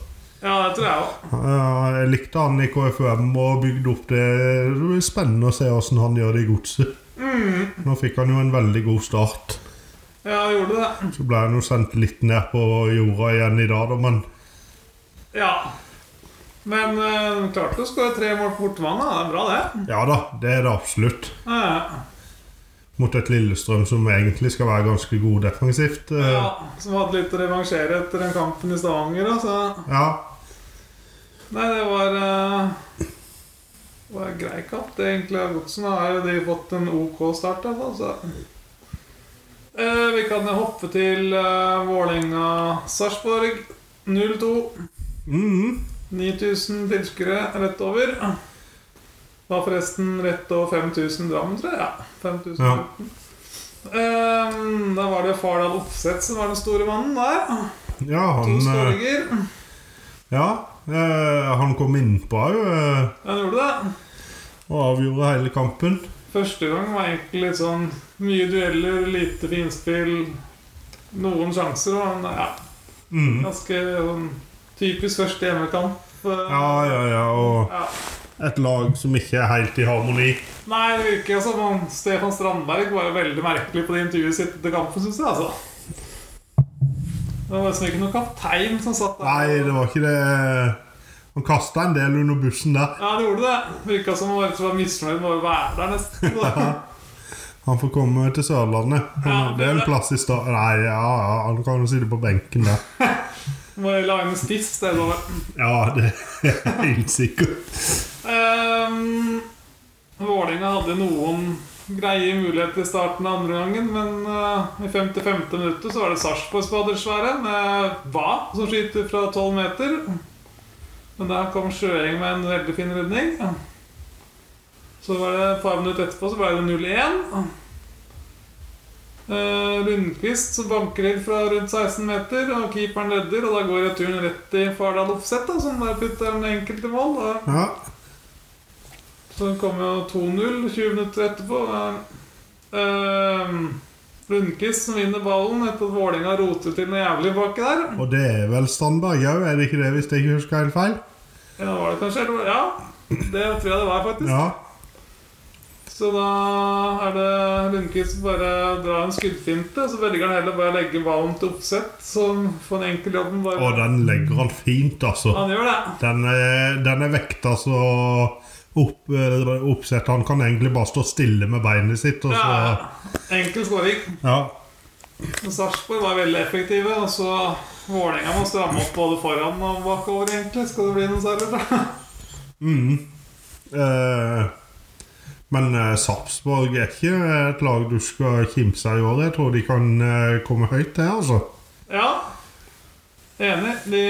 [SPEAKER 2] Ja, det tror jeg òg.
[SPEAKER 1] Ja, Jeg likte han i KFUM og bygde opp det. Det blir spennende å se hvordan han gjør det i godset. Nå fikk han jo en veldig god start.
[SPEAKER 2] Ja, jeg gjorde det.
[SPEAKER 1] Så ble han jo sendt litt ned på jorda igjen i dag, da, men
[SPEAKER 2] Ja. Men eh, de klarte å skåre tre mål på bortebane. da. Det er bra, det.
[SPEAKER 1] ja da, det er det absolutt.
[SPEAKER 2] Ja, ja.
[SPEAKER 1] Mot et Lillestrøm som egentlig skal være ganske god defensivt. eh,
[SPEAKER 2] ja, Som hadde litt å revansjere etter den kampen i Stavanger. da, så...
[SPEAKER 1] ja.
[SPEAKER 2] Nei, det var eh, Det var en grei kamp. Det er egentlig av godset. Nå har jo de fått en OK start, i hvert fall. Så. Eh, vi kan hoppe til eh, Vålerenga-Sarpsborg. 0-2.
[SPEAKER 1] Mhm.
[SPEAKER 2] 9000 tilskuere rett over. Var forresten rett over 5000 Drammen, tror jeg. Ja, 5000.
[SPEAKER 1] Ja.
[SPEAKER 2] Eh, da var det Fardal Opseth som var den store mannen der.
[SPEAKER 1] ja,
[SPEAKER 2] To
[SPEAKER 1] han eh,
[SPEAKER 2] skåringer.
[SPEAKER 1] Ja, eh, han kom innpå òg eh,
[SPEAKER 2] Han gjorde det.
[SPEAKER 1] og avgjorde hele kampen.
[SPEAKER 2] Første gang var egentlig litt sånn mye dueller, lite finspill, noen sjanser og en- ja,
[SPEAKER 1] Mhm.
[SPEAKER 2] ganske sånn typisk første hjemmekamp. eh,
[SPEAKER 1] Ja, ja, ja, og
[SPEAKER 2] ja.
[SPEAKER 1] et lag som ikke er helt i harmoni.
[SPEAKER 2] Nei, det virker jo som om Stefan Strandberg var jo veldig merkelig på det intervjuet sitt etter kampen, syns jeg, altså. Det var liksom ikke noen kaptein som satt der.
[SPEAKER 1] Nei, det var ikke det. eh, Han kasta en del under bussen der.
[SPEAKER 2] Ja, det gjorde det. Virka som om han var misfornøyd med å være der, nesten.
[SPEAKER 1] Han får komme til Sørlandet.
[SPEAKER 2] Ja,
[SPEAKER 1] det er en plass i stad Nei, ja, ja, han kan jo sitte på benken der.
[SPEAKER 2] Må lage en spiss, det var
[SPEAKER 1] Ja, det er helt sikkert.
[SPEAKER 2] Um, Vålinga hadde noen greie muligheter i starten av andre gangen, men eh, i 55. minuttet så var det Sarpsborg som hadde det svære, med Hva som skyter fra 12 meter. Men der kom Sjøeng med en veldig fin redning. Så var det et par minutter etterpå så ble det 0-1. Eh, Lundqvist som banker inn fra rundt 16 meter, og keeperen redder. Og da går returen rett i Fardal Opseth, da, som der putter den enkelte mål. Da.
[SPEAKER 1] Ja,
[SPEAKER 2] Så det kom jo 2-0 20 minutter etterpå. Eh, Lundqvist som vinner ballen etter at Vålerenga roter til noe jævlig baki der.
[SPEAKER 1] Og det er vel Strandberg òg, er det ikke det, hvis jeg ikke husker helt feil?
[SPEAKER 2] Ja, var det kanskje? Eller, ja. Det tror jeg det var, faktisk.
[SPEAKER 1] Ja.
[SPEAKER 2] Så da er det Lundqvist som bare drar en skuddfinte, så velger han heller bare å legge ballen til oppsett som for en enkel jobb. men Bare...
[SPEAKER 1] Og den legger han fint, altså.
[SPEAKER 2] Han gjør det.
[SPEAKER 1] Den er, den er vekta så opp, eh, oppsett. Han kan egentlig bare stå stille med beinet sitt, og så
[SPEAKER 2] Ja. Enkel skåring.
[SPEAKER 1] Ja.
[SPEAKER 2] Men Sarpsborg var veldig effektive, og så Vålerenga må stramme opp både foran og bakover, egentlig. Skal det bli noe særlig bra?
[SPEAKER 1] Mm. Eh, men eh, Sarpsborg er ikke et lag du skal kimse av i år. Jeg tror de kan eh, komme høyt, det, altså.
[SPEAKER 2] Ja. Enig. De,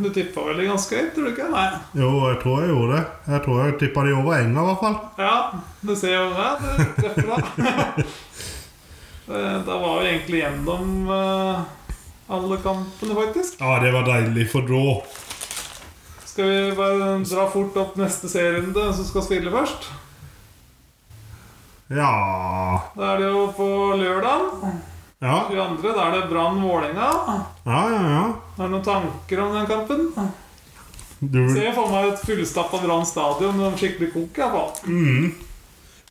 [SPEAKER 2] du tippa vel de ganske høyt, tror du ikke? Nei.
[SPEAKER 1] Jo, jeg tror jeg gjorde det. Jeg tror jeg tippa de over enga, i hvert fall.
[SPEAKER 2] Ja, du ser jo ja, det treffer da. [LAUGHS] Eh, da var vi egentlig gjennom eh, alle kampene, faktisk.
[SPEAKER 1] Ja, det var deilig, for da
[SPEAKER 2] Skal vi bare dra fort opp neste serierunde, som skal spille først?
[SPEAKER 1] Ja.
[SPEAKER 2] Da er det jo på lørdag.
[SPEAKER 1] Ja,
[SPEAKER 2] 22. Da er det Brann-Vålerenga.
[SPEAKER 1] ja, ja. ja.
[SPEAKER 2] Har du noen tanker om den kampen?
[SPEAKER 1] Du,
[SPEAKER 2] Ser jeg for meg et fullstappa Brann stadion med skikkelig kok. i hvert fall.
[SPEAKER 1] mm.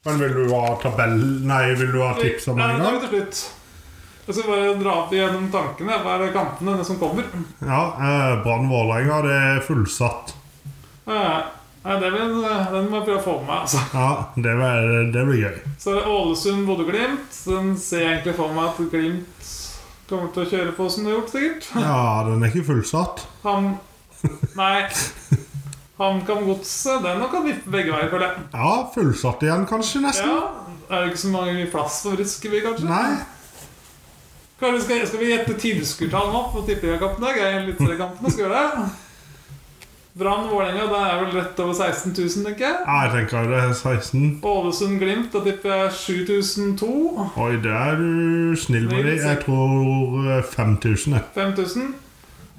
[SPEAKER 1] Men vil du ha tabell... Nei, vil du ha tips om
[SPEAKER 2] Nei,
[SPEAKER 1] en
[SPEAKER 2] nå er
[SPEAKER 1] gang?
[SPEAKER 2] vi til slutt. Jeg skal bare dra opp igjennom tankene. Hva er kampene det som kommer?
[SPEAKER 1] Ja, eh, Brann-Vålerenga, det er fullsatt.
[SPEAKER 2] Eh, Nei, det vil, eh, Den må jeg prøve å få med meg. altså.
[SPEAKER 1] Ja, det, var, det blir gøy.
[SPEAKER 2] Så er det Ålesund-Bodø-Glimt. Den ser jeg egentlig for meg at Glimt kommer til å kjøre på som de har gjort, sikkert.
[SPEAKER 1] Ja, den er ikke fullsatt.
[SPEAKER 2] Ham... Nei. HamKam Godset, den kan vippe begge veier, føler jeg.
[SPEAKER 1] Ja, fullsatt igjen, kanskje,
[SPEAKER 2] Ja,
[SPEAKER 1] nesten.
[SPEAKER 2] er det ikke så mange plass for Briskeby, kanskje?
[SPEAKER 1] Nei.
[SPEAKER 2] Kanskje skal, skal vi gjette tilskuertall nå på tippeligakampen? Det er litt flere kampene, skal vi gjøre det? Brann-Vålerenga, da er jeg vel rett over 16 000, tenker jeg.
[SPEAKER 1] Ja, jeg tenker det er 16.
[SPEAKER 2] Ålesund-Glimt, da tipper jeg 7002.
[SPEAKER 1] Oi, det er du snill med de. Jeg tror eh, 5000, jeg.
[SPEAKER 2] 5000.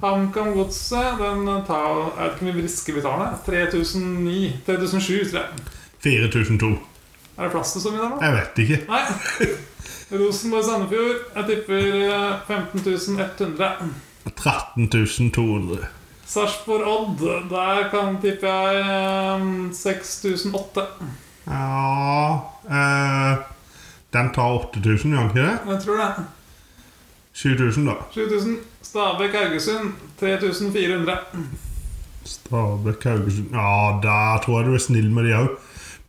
[SPEAKER 2] HamKam Godset, den tar Jeg vet ikke hvor mye briske vi tar den. 3009. 3007, tror jeg.
[SPEAKER 1] 4002.
[SPEAKER 2] Er det plass til så mye der nå?
[SPEAKER 1] Jeg vet ikke.
[SPEAKER 2] Nei. Rosenborg-Sandefjord, jeg tipper eh, 15100.
[SPEAKER 1] 13200.
[SPEAKER 2] Sarpsborg-Odd, der kan tipper jeg eh, 6008.
[SPEAKER 1] Ja eh, Den tar 8000, gjør den ikke det?
[SPEAKER 2] Jeg tror det.
[SPEAKER 1] 7000, da.
[SPEAKER 2] 7000. Stabæk-Haugesund, 3400.
[SPEAKER 1] Stabæk, Haugesund Ja, der tror jeg du er snill med de òg.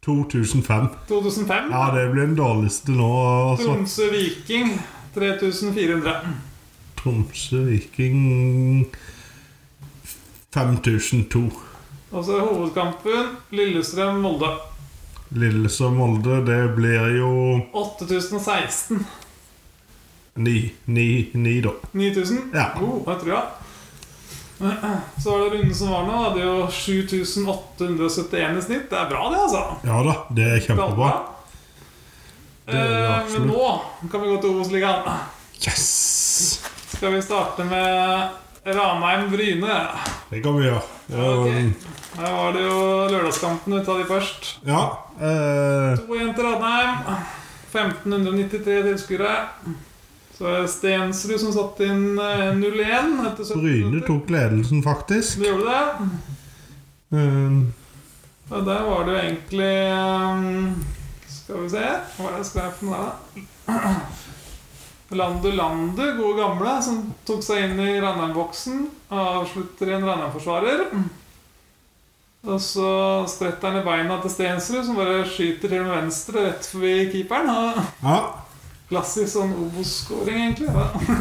[SPEAKER 1] 2005.
[SPEAKER 2] 2005.
[SPEAKER 1] Ja, det blir den dårligste nå. Altså.
[SPEAKER 2] Mm. Tromsø-Viking, 3400.
[SPEAKER 1] Tromsø Viking 5002.
[SPEAKER 2] Og så er hovedkampen Lillestrøm-Molde.
[SPEAKER 1] Lillesand Molde, det blir jo
[SPEAKER 2] 8016.
[SPEAKER 1] 9. 9, 9 da.
[SPEAKER 2] 9000?
[SPEAKER 1] Ja.
[SPEAKER 2] Oh, jeg tror jeg. Så var det runden som var nå. Hadde jo 7871 i snitt. Det er bra, det, altså.
[SPEAKER 1] Ja da, det er kjempebra. Det er det
[SPEAKER 2] Eh, Men
[SPEAKER 1] absolutt.
[SPEAKER 2] nå kan vi gå til Obos-ligaen.
[SPEAKER 1] Yes!
[SPEAKER 2] Skal vi starte med Ranheim-Bryne?
[SPEAKER 1] Det kan vi gjøre. Um,
[SPEAKER 2] Ok. Her var det jo lørdagskampen. Vi tar de først.
[SPEAKER 1] Ja. eh,
[SPEAKER 2] 2-1 til Ranheim. 1593 tilskuere. Så er det Stensrud som satte inn eh, 0-1 etter 17
[SPEAKER 1] Bryne
[SPEAKER 2] minutter.
[SPEAKER 1] tok ledelsen, faktisk.
[SPEAKER 2] Det gjorde det.
[SPEAKER 1] Um,
[SPEAKER 2] Ja, der var det jo egentlig ehm, Skal vi se Hva er det jeg skrev for noe der, da? Landu Landu, gode gamle, som tok seg inn i Ranheim-boksen. Avslutter i en Ranheim-forsvarer. Og så spretter han i beina til Stensrud, som bare skyter til med venstre rett forbi keeperen. Og
[SPEAKER 1] ja.
[SPEAKER 2] klassisk sånn Obos-skåring, egentlig. Da.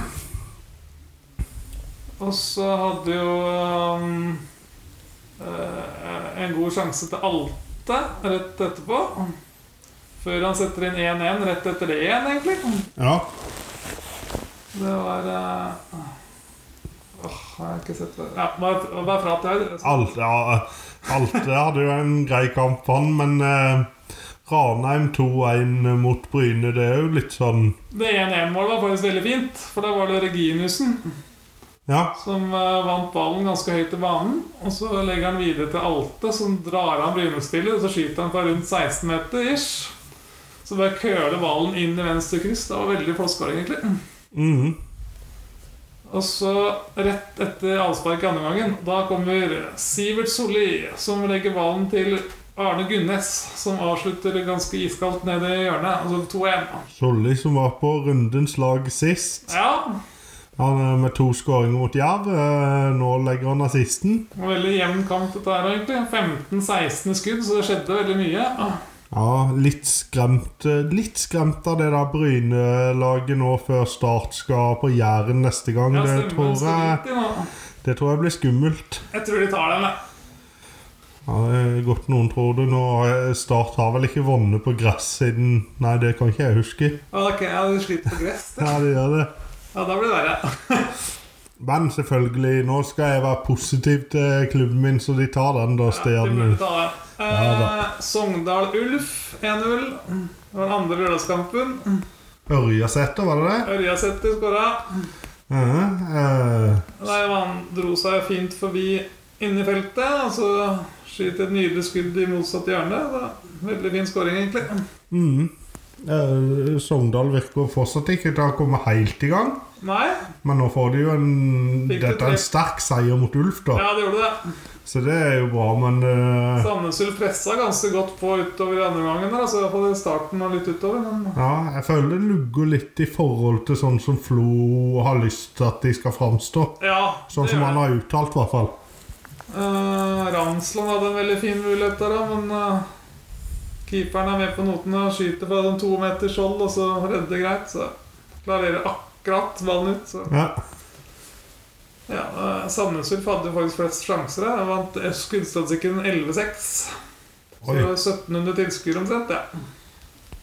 [SPEAKER 2] Og så hadde jo ehm, eh, en god sjanse til Alte rett etterpå. Før han setter inn 1-1 rett etter det igjen, egentlig.
[SPEAKER 1] ja.
[SPEAKER 2] Det var eh, Åh, jeg har ikke sett det Ja, bare, bare prat her.
[SPEAKER 1] Alt, ja, Alte hadde jo en grei kamp, han, men eh, Ranheim 2-1 mot Bryne, det er jo litt sånn
[SPEAKER 2] Det 1-1-målet var faktisk veldig fint, for da var det Reginussen
[SPEAKER 1] Ja.
[SPEAKER 2] som eh, vant ballen ganske høyt i banen. Og så legger han videre til Alte, som drar av Bryne-spillet, og så skyter han fra rundt 16 meter ish. Så bare køler ballen inn i venstre kryss. Det var veldig flosskåring, egentlig.
[SPEAKER 1] mhm.
[SPEAKER 2] Og Og så rett etter avspark i andre gangen, da kommer Sivert Solli, som legger ballen til Arne Gunnes, som avslutter ganske iskaldt ned i hjørnet. Altså 2-1.
[SPEAKER 1] Solli, som var på rundens lag sist.
[SPEAKER 2] Ja,
[SPEAKER 1] Han er med to skåringer mot Jerv. Eh, Nå legger han assisten.
[SPEAKER 2] det var veldig jevn kamp dette her, egentlig. 15-16 i skudd, så det skjedde veldig mye. Ah,
[SPEAKER 1] Ja, litt skremt eh, Litt skremt av det der Bryne-laget nå før Start skal på Jæren neste gang.
[SPEAKER 2] ja,
[SPEAKER 1] det,
[SPEAKER 2] stemmen
[SPEAKER 1] tror
[SPEAKER 2] står
[SPEAKER 1] jeg,
[SPEAKER 2] litt i nå.
[SPEAKER 1] det tror jeg blir skummelt.
[SPEAKER 2] Jeg tror de tar den, jeg.
[SPEAKER 1] Ja, det er Godt noen tror det. Nå har jeg- Start har vel ikke vunnet på gress siden Nei, det kan ikke jeg huske.
[SPEAKER 2] Ok, ja, de sliter på gress. det.
[SPEAKER 1] Ja, det gjør det.
[SPEAKER 2] Ja, da blir det verre.
[SPEAKER 1] Men selvfølgelig, nå skal jeg være positiv til klubben min, så de tar den da,
[SPEAKER 2] Ja, de
[SPEAKER 1] Stian.
[SPEAKER 2] burde ta
[SPEAKER 1] Ja,
[SPEAKER 2] den. Eh, Sogndal Ulf 1-0. Det var den andre lørdagskampen.
[SPEAKER 1] Ørjasæter, var det det?
[SPEAKER 2] Ørjasæter skåra.
[SPEAKER 1] Uh,
[SPEAKER 2] Nei, han dro seg fint forbi inni feltet, og så skyter et nydelig skudd i motsatt hjørne. Det var veldig fin skåring, egentlig.
[SPEAKER 1] mm. Eh, Sogndal virker fortsatt ikke til å komme helt i gang.
[SPEAKER 2] Nei,
[SPEAKER 1] Men nå får de jo en
[SPEAKER 2] Fikk det
[SPEAKER 1] Dette er
[SPEAKER 2] tre.
[SPEAKER 1] en sterk seier mot Ulf, da.
[SPEAKER 2] ja, det gjorde det.
[SPEAKER 1] Så det er jo bra, men eh,
[SPEAKER 2] Sandnes Ulf pressa ganske godt på utover i andre gangen. der, altså i hvert fall i starten og litt utover. Men
[SPEAKER 1] ja, jeg føler det lugger litt i forhold til sånn som Flo har lyst til at de skal framstå.
[SPEAKER 2] ja,
[SPEAKER 1] Sånn som han har uttalt, i hvert fall.
[SPEAKER 2] Uh, Ramsland hadde en veldig fin mulighet der, da, men eh, keeperen er med på notene og skyter fra den to meters hold, og så redder det greit. Så klarerer akkurat ballen ut. Så.
[SPEAKER 1] Ja.
[SPEAKER 2] Ja, eh, Sandnes Ulf hadde jo faktisk flest sjanser. her. De vant eh, skuddstatistikken 11-6. Så
[SPEAKER 1] Oi.
[SPEAKER 2] det var 1700 tilskuere omtrent, ja.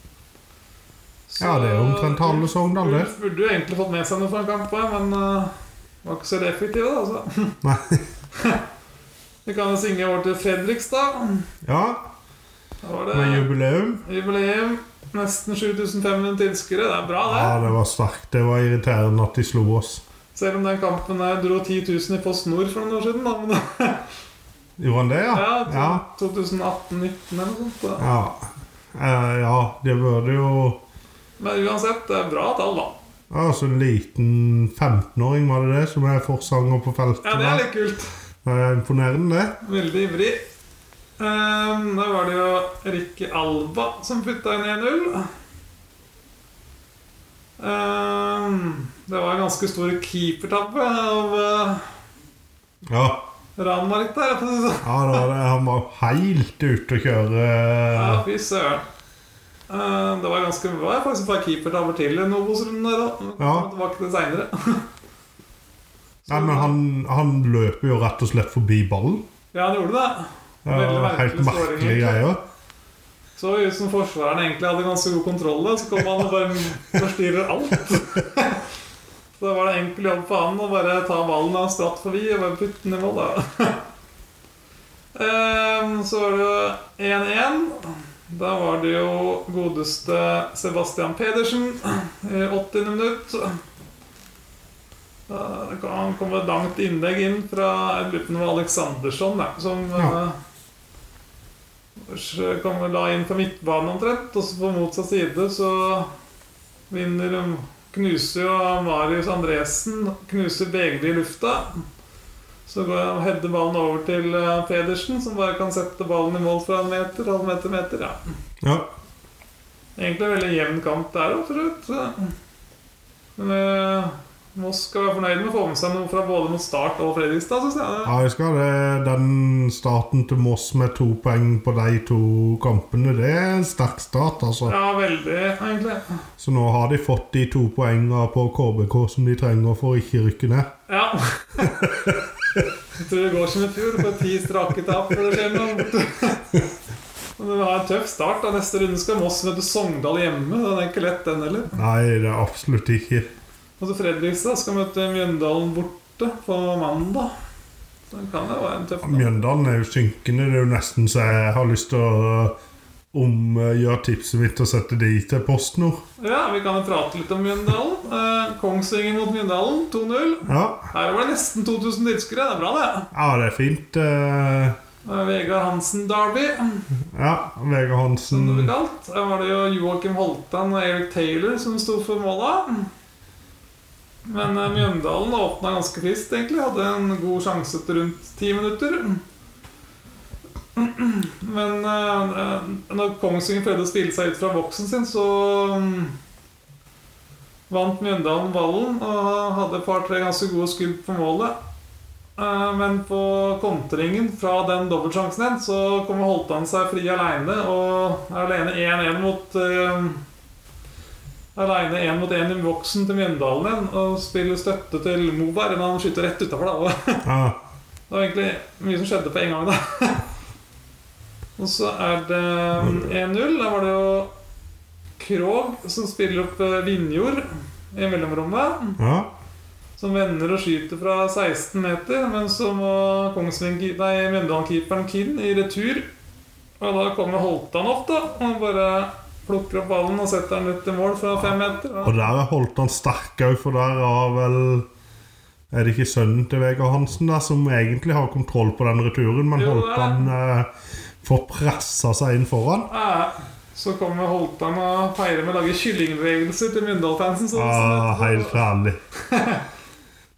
[SPEAKER 2] Så,
[SPEAKER 1] ja, det er omtrent halve
[SPEAKER 2] Ulf-
[SPEAKER 1] Sogndal, det.
[SPEAKER 2] Ulf burde jo egentlig fått med seg noe fra en kamp, her, men eh, var ikke så effektive, da. Altså.
[SPEAKER 1] Nei.
[SPEAKER 2] [LAUGHS] Vi kan jo synge over til Fredrikstad.
[SPEAKER 1] Ja,
[SPEAKER 2] Da var
[SPEAKER 1] med
[SPEAKER 2] det
[SPEAKER 1] jubileum.
[SPEAKER 2] jubileum. Nesten 7500 tilskuere. Det er bra,
[SPEAKER 1] Ja,
[SPEAKER 2] det.
[SPEAKER 1] det var sterkt. Det var irriterende at de slo oss.
[SPEAKER 2] Selv om den kampen der dro 10 000 i Post Nord for noen år siden. Da.
[SPEAKER 1] [LAUGHS]
[SPEAKER 2] Men, [LAUGHS]
[SPEAKER 1] Gjorde han det, ja?
[SPEAKER 2] ja,
[SPEAKER 1] Ja.
[SPEAKER 2] 2018-19 eller noe sånt. Da.
[SPEAKER 1] Ja, Eh, ja det burde jo
[SPEAKER 2] Men uansett, det er bra tall, da.
[SPEAKER 1] Altså, en liten 15-åring, var det det, som er forsanger på feltet?
[SPEAKER 2] Ja, Det er
[SPEAKER 1] der?
[SPEAKER 2] litt kult.
[SPEAKER 1] Det er imponerende, det.
[SPEAKER 2] Veldig ivrig. Ehm, da var det jo Rikke Alba som putta inn 1-0. Ehm, det var en ganske stor keepertabbe av uh,
[SPEAKER 1] Ja,
[SPEAKER 2] Ranmark der. for å si det sånn.
[SPEAKER 1] ja det var det. han var helt ute å kjøre.
[SPEAKER 2] Ja, fy søren. Ehm, det var ganske det var faktisk bare keepertabber til i en Obos-runden der òg.
[SPEAKER 1] Ja.
[SPEAKER 2] Tilbake til det seinere.
[SPEAKER 1] Nei, men han, han løper jo rett og slett forbi ballen.
[SPEAKER 2] Ja, han gjorde det.
[SPEAKER 1] Ja,
[SPEAKER 2] Veldig merkelig
[SPEAKER 1] helt
[SPEAKER 2] scoring,
[SPEAKER 1] merkelige
[SPEAKER 2] egentlig.
[SPEAKER 1] greier.
[SPEAKER 2] Så ut som forsvareren egentlig hadde ganske god kontroll, da, så kom han og bare forstyrrer alt. Så da var det enkel jobb for han å bare ta ballen han spratt forbi, og bare putte den i mål. da. Ehm, Så var det 1-1. Da var det jo godeste Sebastian Pedersen i 80. minutt. Da kan han komme et langt innlegg inn fra jeg lurer på om det var Aleksandersson, da, som
[SPEAKER 1] Ja.
[SPEAKER 2] eh, Ellers eh, kan vi la inn på midtbanen omtrent, og så på motsatt side så vinner de Knuser jo Marius Andresen, knuser Begli i lufta. Så går jeg og header ballen over til eh, Pedersen, som bare kan sette ballen i mål fra en meter, halv meter, meter. ja.
[SPEAKER 1] Ja.
[SPEAKER 2] Egentlig en veldig jevn kamp der òg, for så vidt. Men eh, Moss skal være fornøyd med å få med seg noe fra både mot Start og Fredrikstad, syns jeg.
[SPEAKER 1] ja, jeg skal det. Den starten til Moss med to poeng på de to kampene, det er en sterk start, altså.
[SPEAKER 2] Ja, veldig, egentlig.
[SPEAKER 1] Så nå har de fått de to poengene på KBK som de trenger for å ikke rykke ned.
[SPEAKER 2] Ja. Jeg tror det går som i fjor, på ti strake tap. for det skjer noe. Men vi har en tøff start. da Neste runde skal Moss møte Sogndal hjemme. Den er ikke lett, den heller.
[SPEAKER 1] Nei, det er absolutt ikke.
[SPEAKER 2] Og så Fredrikstad skal møte Mjøndalen borte på mandag. Så det kan jo være en tøff kamp.
[SPEAKER 1] Mjøndalen er jo synkende. Det er jo nesten så jeg har lyst til å eh, omgjøre tipset mitt og sette de til PostNord.
[SPEAKER 2] Ja, vi kan jo prate litt om Mjøndalen. Eh, Kongsvinger mot Mjøndalen 2-0.
[SPEAKER 1] Ja.
[SPEAKER 2] Her var det nesten 2000 tilskuere. Det er bra, det.
[SPEAKER 1] ja, det er fint. eh,
[SPEAKER 2] Eh, Vegard Hansen Derby.
[SPEAKER 1] Ja, Vegard
[SPEAKER 2] som Sånn det ble
[SPEAKER 1] Hansen.
[SPEAKER 2] kalt. Der var det jo Joakim Holtan og Erik Taylor som sto for måla. Men eh, Mjøndalen åpna ganske frist, egentlig. Hadde en god sjanse til rundt ti minutter. Men eh, eh, når Kongsvinger prøvde å spille seg ut fra boksen sin, så mm, vant Mjøndalen ballen og hadde et par-tre ganske gode skudd på målet. Eh, Men på kontringen fra den dobbeltsjansen igjen, så kommer Holtan seg fri aleine og er alene 1-1 mot eh, Aleine én mot én i voksen til Mjøndalen igjen og spiller støtte til Moberg. Men han skyter rett utafor, da. Og
[SPEAKER 1] Ah,
[SPEAKER 2] det var egentlig mye som skjedde på en gang, da. [LAUGHS] Og så er det 1-0. Da var det jo Krog som spiller opp eh, Vinjord i mellomrommet.
[SPEAKER 1] ja.
[SPEAKER 2] Som vender og skyter fra 16 meter, men så må Kongsvinger- nei, Mjøndalen-keeperen Kinn i retur. Og da kommer Holtan opp, da. Og bare plukker opp ballen og setter den ut i mål fra fem meter.
[SPEAKER 1] Og der er holdt han sterk òg, for der har vel Er det ikke sønnen til Vegard Hansen der som egentlig har kontroll på den returen, men
[SPEAKER 2] Jo,
[SPEAKER 1] holdt
[SPEAKER 2] det er det.
[SPEAKER 1] han eh, får pressa seg inn foran?
[SPEAKER 2] Ja, Så kommer Holtan og feirer med å lage kyllingbevegelser til Myndal-fansen. Sånn,
[SPEAKER 1] Ah,
[SPEAKER 2] som
[SPEAKER 1] helt herlig.
[SPEAKER 2] [LAUGHS]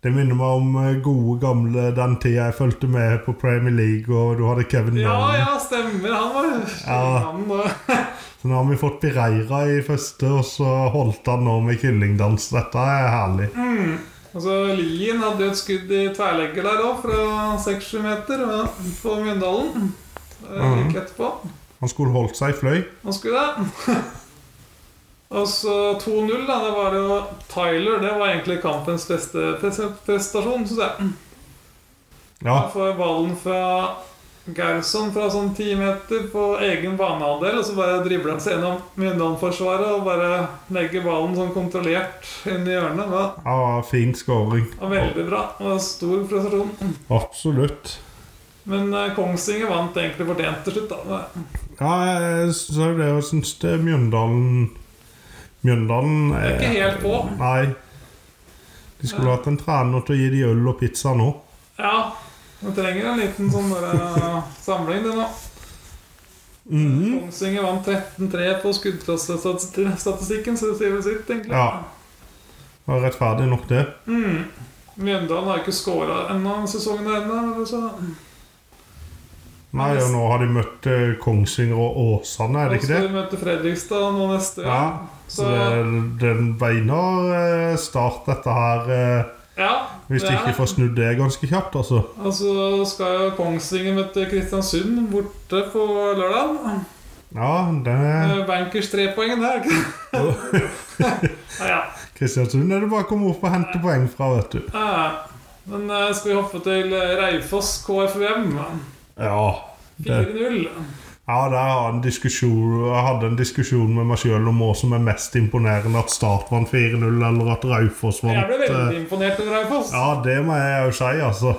[SPEAKER 1] Det minner meg om eh, gode, gamle den tida jeg fulgte med på Premier League, og du hadde Kevin
[SPEAKER 2] ja,
[SPEAKER 1] Nolan.
[SPEAKER 2] ja, stemmer. Han var kyllingmannen. da.
[SPEAKER 1] Så nå har vi fått Pereira i første, og så holdt han nå med kyllingdans. Dette er herlig.
[SPEAKER 2] Og så Altså, Lien hadde jo et skudd i tverrlegger der òg, fra 6-7 meter ja, på Myndalen. Eh,
[SPEAKER 1] Mhm.
[SPEAKER 2] Like etterpå.
[SPEAKER 1] Han skulle holdt seg i fløy.
[SPEAKER 2] Nå skulle det. [LAUGHS] Og så 2-0, da. Det var jo Tyler. Det var egentlig kampens beste pres- prestasjon, syns jeg.
[SPEAKER 1] Ja,
[SPEAKER 2] Han får ballen fra Gerson fra sånn ti meter på egen banehalvdel, og så bare dribler han seg gjennom Mjøndalen-forsvaret og bare legger ballen sånn kontrollert inn i hjørnet. Det
[SPEAKER 1] ja fin scoring.
[SPEAKER 2] var veldig bra. Det var en stor prestasjon.
[SPEAKER 1] Absolutt.
[SPEAKER 2] Men eh, Kongsvinger vant egentlig fortjent til slutt, da.
[SPEAKER 1] Ja, jeg så det og syns det er Mjøndalen Mjøndalen eh,
[SPEAKER 2] Det er ikke helt på.
[SPEAKER 1] Nei. De skulle hatt en trener til å gi de øl og pizza nå.
[SPEAKER 2] Ja, vi trenger en liten sånn bare samling, det nå. Mm.
[SPEAKER 1] Mhm.
[SPEAKER 2] Kongsvinger vant 13-3 på skuddklassestatistikken, så det sier vel sitt, egentlig.
[SPEAKER 1] Ja. Det var rettferdig nok, det.
[SPEAKER 2] Mm. Mjøndalen har ikke skåra ennå denne sesongen. her ennå, eller så.
[SPEAKER 1] Nei, og nå har de møtt eh, Kongsvinger og Åsane, er det
[SPEAKER 2] Nå
[SPEAKER 1] ikke det?
[SPEAKER 2] skal vi møte Fredrikstad nå neste
[SPEAKER 1] Ja.
[SPEAKER 2] gang.
[SPEAKER 1] Så det er det er en beinhard eh, start, dette her. eh,
[SPEAKER 2] Ja,
[SPEAKER 1] Hvis de
[SPEAKER 2] det er
[SPEAKER 1] ikke får snudd det ganske kjapt, altså.
[SPEAKER 2] Og så skal jo Kongsvinger møte Kristiansund borte på lørdag. Eh,
[SPEAKER 1] Ja, det er
[SPEAKER 2] Bankers trepoengen der, ikke sant? [LAUGHS] Ja, ja.
[SPEAKER 1] Kristiansund er det bare å komme opp og hente poeng fra, vet du.
[SPEAKER 2] Ah, Ja. Men eh, skal vi hoppe til eh, Raufoss KFUM?
[SPEAKER 1] Ja. Det.
[SPEAKER 2] 4-0.
[SPEAKER 1] Ja, der har jeg en diskusjon, jeg hadde en diskusjon med meg sjøl om hva som er mest imponerende. At Start vant 4-0, eller at Raufoss
[SPEAKER 2] Jeg
[SPEAKER 1] vant
[SPEAKER 2] ble
[SPEAKER 1] eh,
[SPEAKER 2] veldig imponert over Raufoss.
[SPEAKER 1] Ja, det må jeg òg si, altså.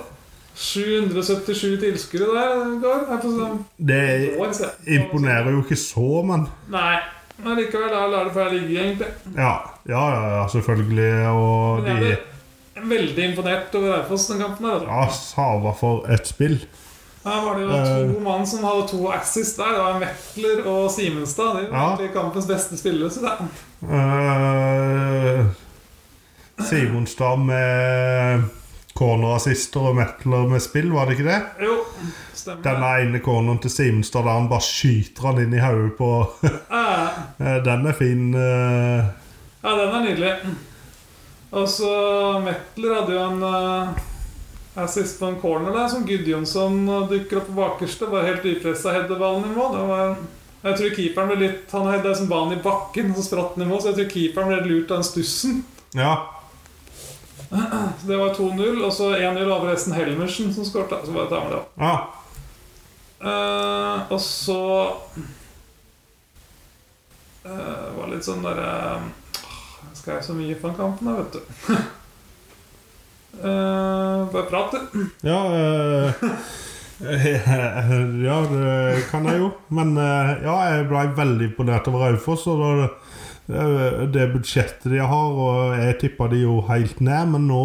[SPEAKER 2] 777 tilskuere der i går. Her på sånn
[SPEAKER 1] Det
[SPEAKER 2] år, så jeg-
[SPEAKER 1] imponerer jo ikke så, men
[SPEAKER 2] Nei. Men likevel, da lar det bare ligge, egentlig.
[SPEAKER 1] Ja, ja, ja, ja selvfølgelig. Og
[SPEAKER 2] Men jeg
[SPEAKER 1] de
[SPEAKER 2] ble veldig imponert over Raufoss den kampen. her, da.
[SPEAKER 1] Ja, Sava for et spill.
[SPEAKER 2] Her var det jo
[SPEAKER 1] Eh.
[SPEAKER 2] to mann som hadde to assist der. Det var Metler og Simenstad. De var
[SPEAKER 1] Ja.
[SPEAKER 2] egentlig kampens beste spillere. Så det.
[SPEAKER 1] Eh, Simonstad med cornerassister og metler med spill, var det ikke det?
[SPEAKER 2] Jo, stemmer.
[SPEAKER 1] Den ene corneren til Simonstad der han bare skyter han inn i hodet på [LAUGHS]
[SPEAKER 2] Eh,
[SPEAKER 1] Eh, Den er fin. eh.
[SPEAKER 2] ja, den er nydelig. Og så Metler hadde jo en eh, assist på en corner der som Gudjonsson dukker opp på bakerste. Bare helt upressa header ballen i mål. Det var jeg tror keeperen ble litt Han hadde liksom ballen i bakken, så spratt den i mål. Så jeg tror keeperen ble lurt av den stussen.
[SPEAKER 1] Ja.
[SPEAKER 2] Så Det var 2-0, og så 1-0 over resten Helmersen som skåret. da. Så bare tar vi det opp.
[SPEAKER 1] ja.
[SPEAKER 2] Eh, og så eh, Det var litt sånn derre Jeg Skal jeg så mye på den kampen, da, vet du. [LAUGHS] Eh, bare prat, du.
[SPEAKER 1] Ja, eh, [LAUGHS] ja, det kan jeg jo. Men eh, ja, jeg ble veldig imponert over Raufoss. Og det, det- det budsjettet de har, og jeg tippa de jo helt ned, men nå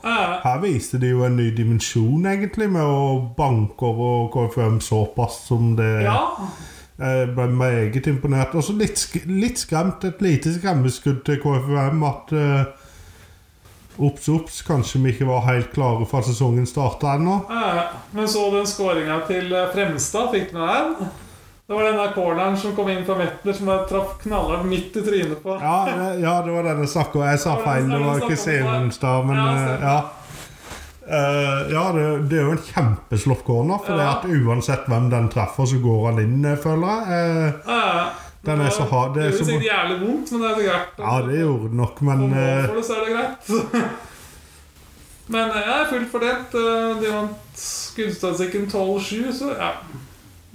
[SPEAKER 2] Eh,
[SPEAKER 1] Her viste de jo en ny dimensjon, egentlig, med å banke over KFUM såpass som det
[SPEAKER 2] ja.
[SPEAKER 1] Jeg ble meget imponert. Og så litt, sk- litt skremt, et lite skremmeskudd til KFUM at eh, Ops, ops, kanskje vi ikke var helt klare for at sesongen starta ennå.
[SPEAKER 2] Ja, Eh, Men så den skåringa til eh, Fremstad, fikk du med den? Det var den der corneren som kom inn fra Metner, som jeg traff knallhardt midt i trynet på.
[SPEAKER 1] Ja, det, ja, det var den jeg snakka om. Jeg sa
[SPEAKER 2] Det var den
[SPEAKER 1] feil, det
[SPEAKER 2] jeg
[SPEAKER 1] var
[SPEAKER 2] snakket
[SPEAKER 1] ikke
[SPEAKER 2] om.
[SPEAKER 1] Sevenstad, men
[SPEAKER 2] Ja,
[SPEAKER 1] eh,
[SPEAKER 2] stemmer.
[SPEAKER 1] ja. Eh, ja, det, det er jo en kjempeslått corner, for det
[SPEAKER 2] Ja.
[SPEAKER 1] at uansett hvem den treffer, så går han inn, eh, føler jeg. Eh,
[SPEAKER 2] Ja,
[SPEAKER 1] Den er så hard, det
[SPEAKER 2] Det
[SPEAKER 1] er
[SPEAKER 2] gjorde
[SPEAKER 1] så
[SPEAKER 2] sikkert jævlig vondt, men det er så greit.
[SPEAKER 1] Ja, det gjorde det nok,
[SPEAKER 2] Om
[SPEAKER 1] men
[SPEAKER 2] man
[SPEAKER 1] eh,
[SPEAKER 2] får det, så er det greit. [LAUGHS] Men jeg er fullt fordelt. Eh, De vant skuddstatistikken 12-7, så ja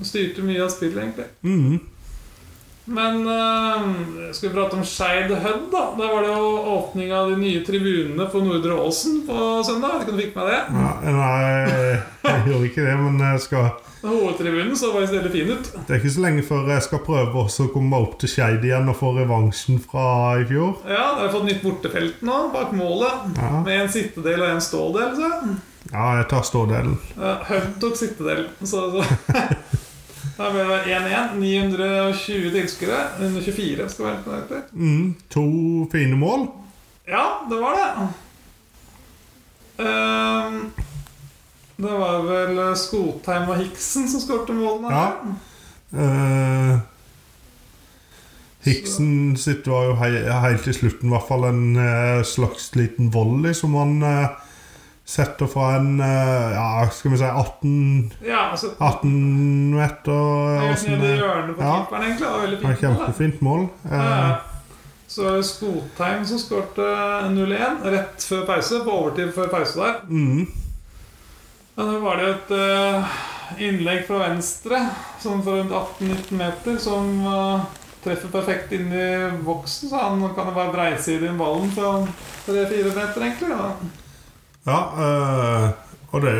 [SPEAKER 2] Styrte mye av spillet, egentlig.
[SPEAKER 1] mm,
[SPEAKER 2] Men eh, skal vi prate om Skeid Hødd, da? Der var det jo åpning av de nye tribunene på Nordre Åsen på søndag. Vet ikke om du fikk med det?
[SPEAKER 1] ja, Nei, eh, jeg gjorde ikke det, men jeg skal
[SPEAKER 2] Hovedtribunen så faktisk veldig fin ut.
[SPEAKER 1] Det er ikke så lenge før jeg skal prøve også å komme opp til Skeid igjen og få revansjen fra i fjor.
[SPEAKER 2] Ja, der har vi fått nytt bortefelt nå, bak målet.
[SPEAKER 1] Ja,
[SPEAKER 2] Med en sittedel og en stådel. Så.
[SPEAKER 1] ja jeg tar stådelen.
[SPEAKER 2] Eh, Hødd tok sittedel. Så, så. [LAUGHS] Der ble det 1-1. 920 tilskuere. 124 skal være helt nøyaktig.
[SPEAKER 1] Mm, to fine mål.
[SPEAKER 2] Ja, det var det. Ehm, det var vel eh, Skotheim og Hiksen som skårte målene.
[SPEAKER 1] Ja. Eh, Hiksen sitt var jo hei, helt til slutten i hvert fall en eh, slags liten volley som han eh, setter fra en eh, Ja, skal vi si 18,
[SPEAKER 2] Ja, altså,
[SPEAKER 1] 18 meter. eh,
[SPEAKER 2] Helt
[SPEAKER 1] åssen
[SPEAKER 2] nede i
[SPEAKER 1] det-
[SPEAKER 2] hjørnet på
[SPEAKER 1] Ja.
[SPEAKER 2] keeperen, egentlig. Det var veldig
[SPEAKER 1] Det var
[SPEAKER 2] fint. mål, da.
[SPEAKER 1] Kjempefint mål. Eh,
[SPEAKER 2] Ja. Så var det Skotheim som skårte 0-1 rett før pause, på overtid før pause der.
[SPEAKER 1] mm,
[SPEAKER 2] Men da var det et eh, innlegg fra venstre, sånn for rundt 18-19 meter, som eh, treffer perfekt inn i boksen, så han kan jo bare breiside inn ballen fra 3-4 meter, egentlig. Da.
[SPEAKER 1] ja eh, og det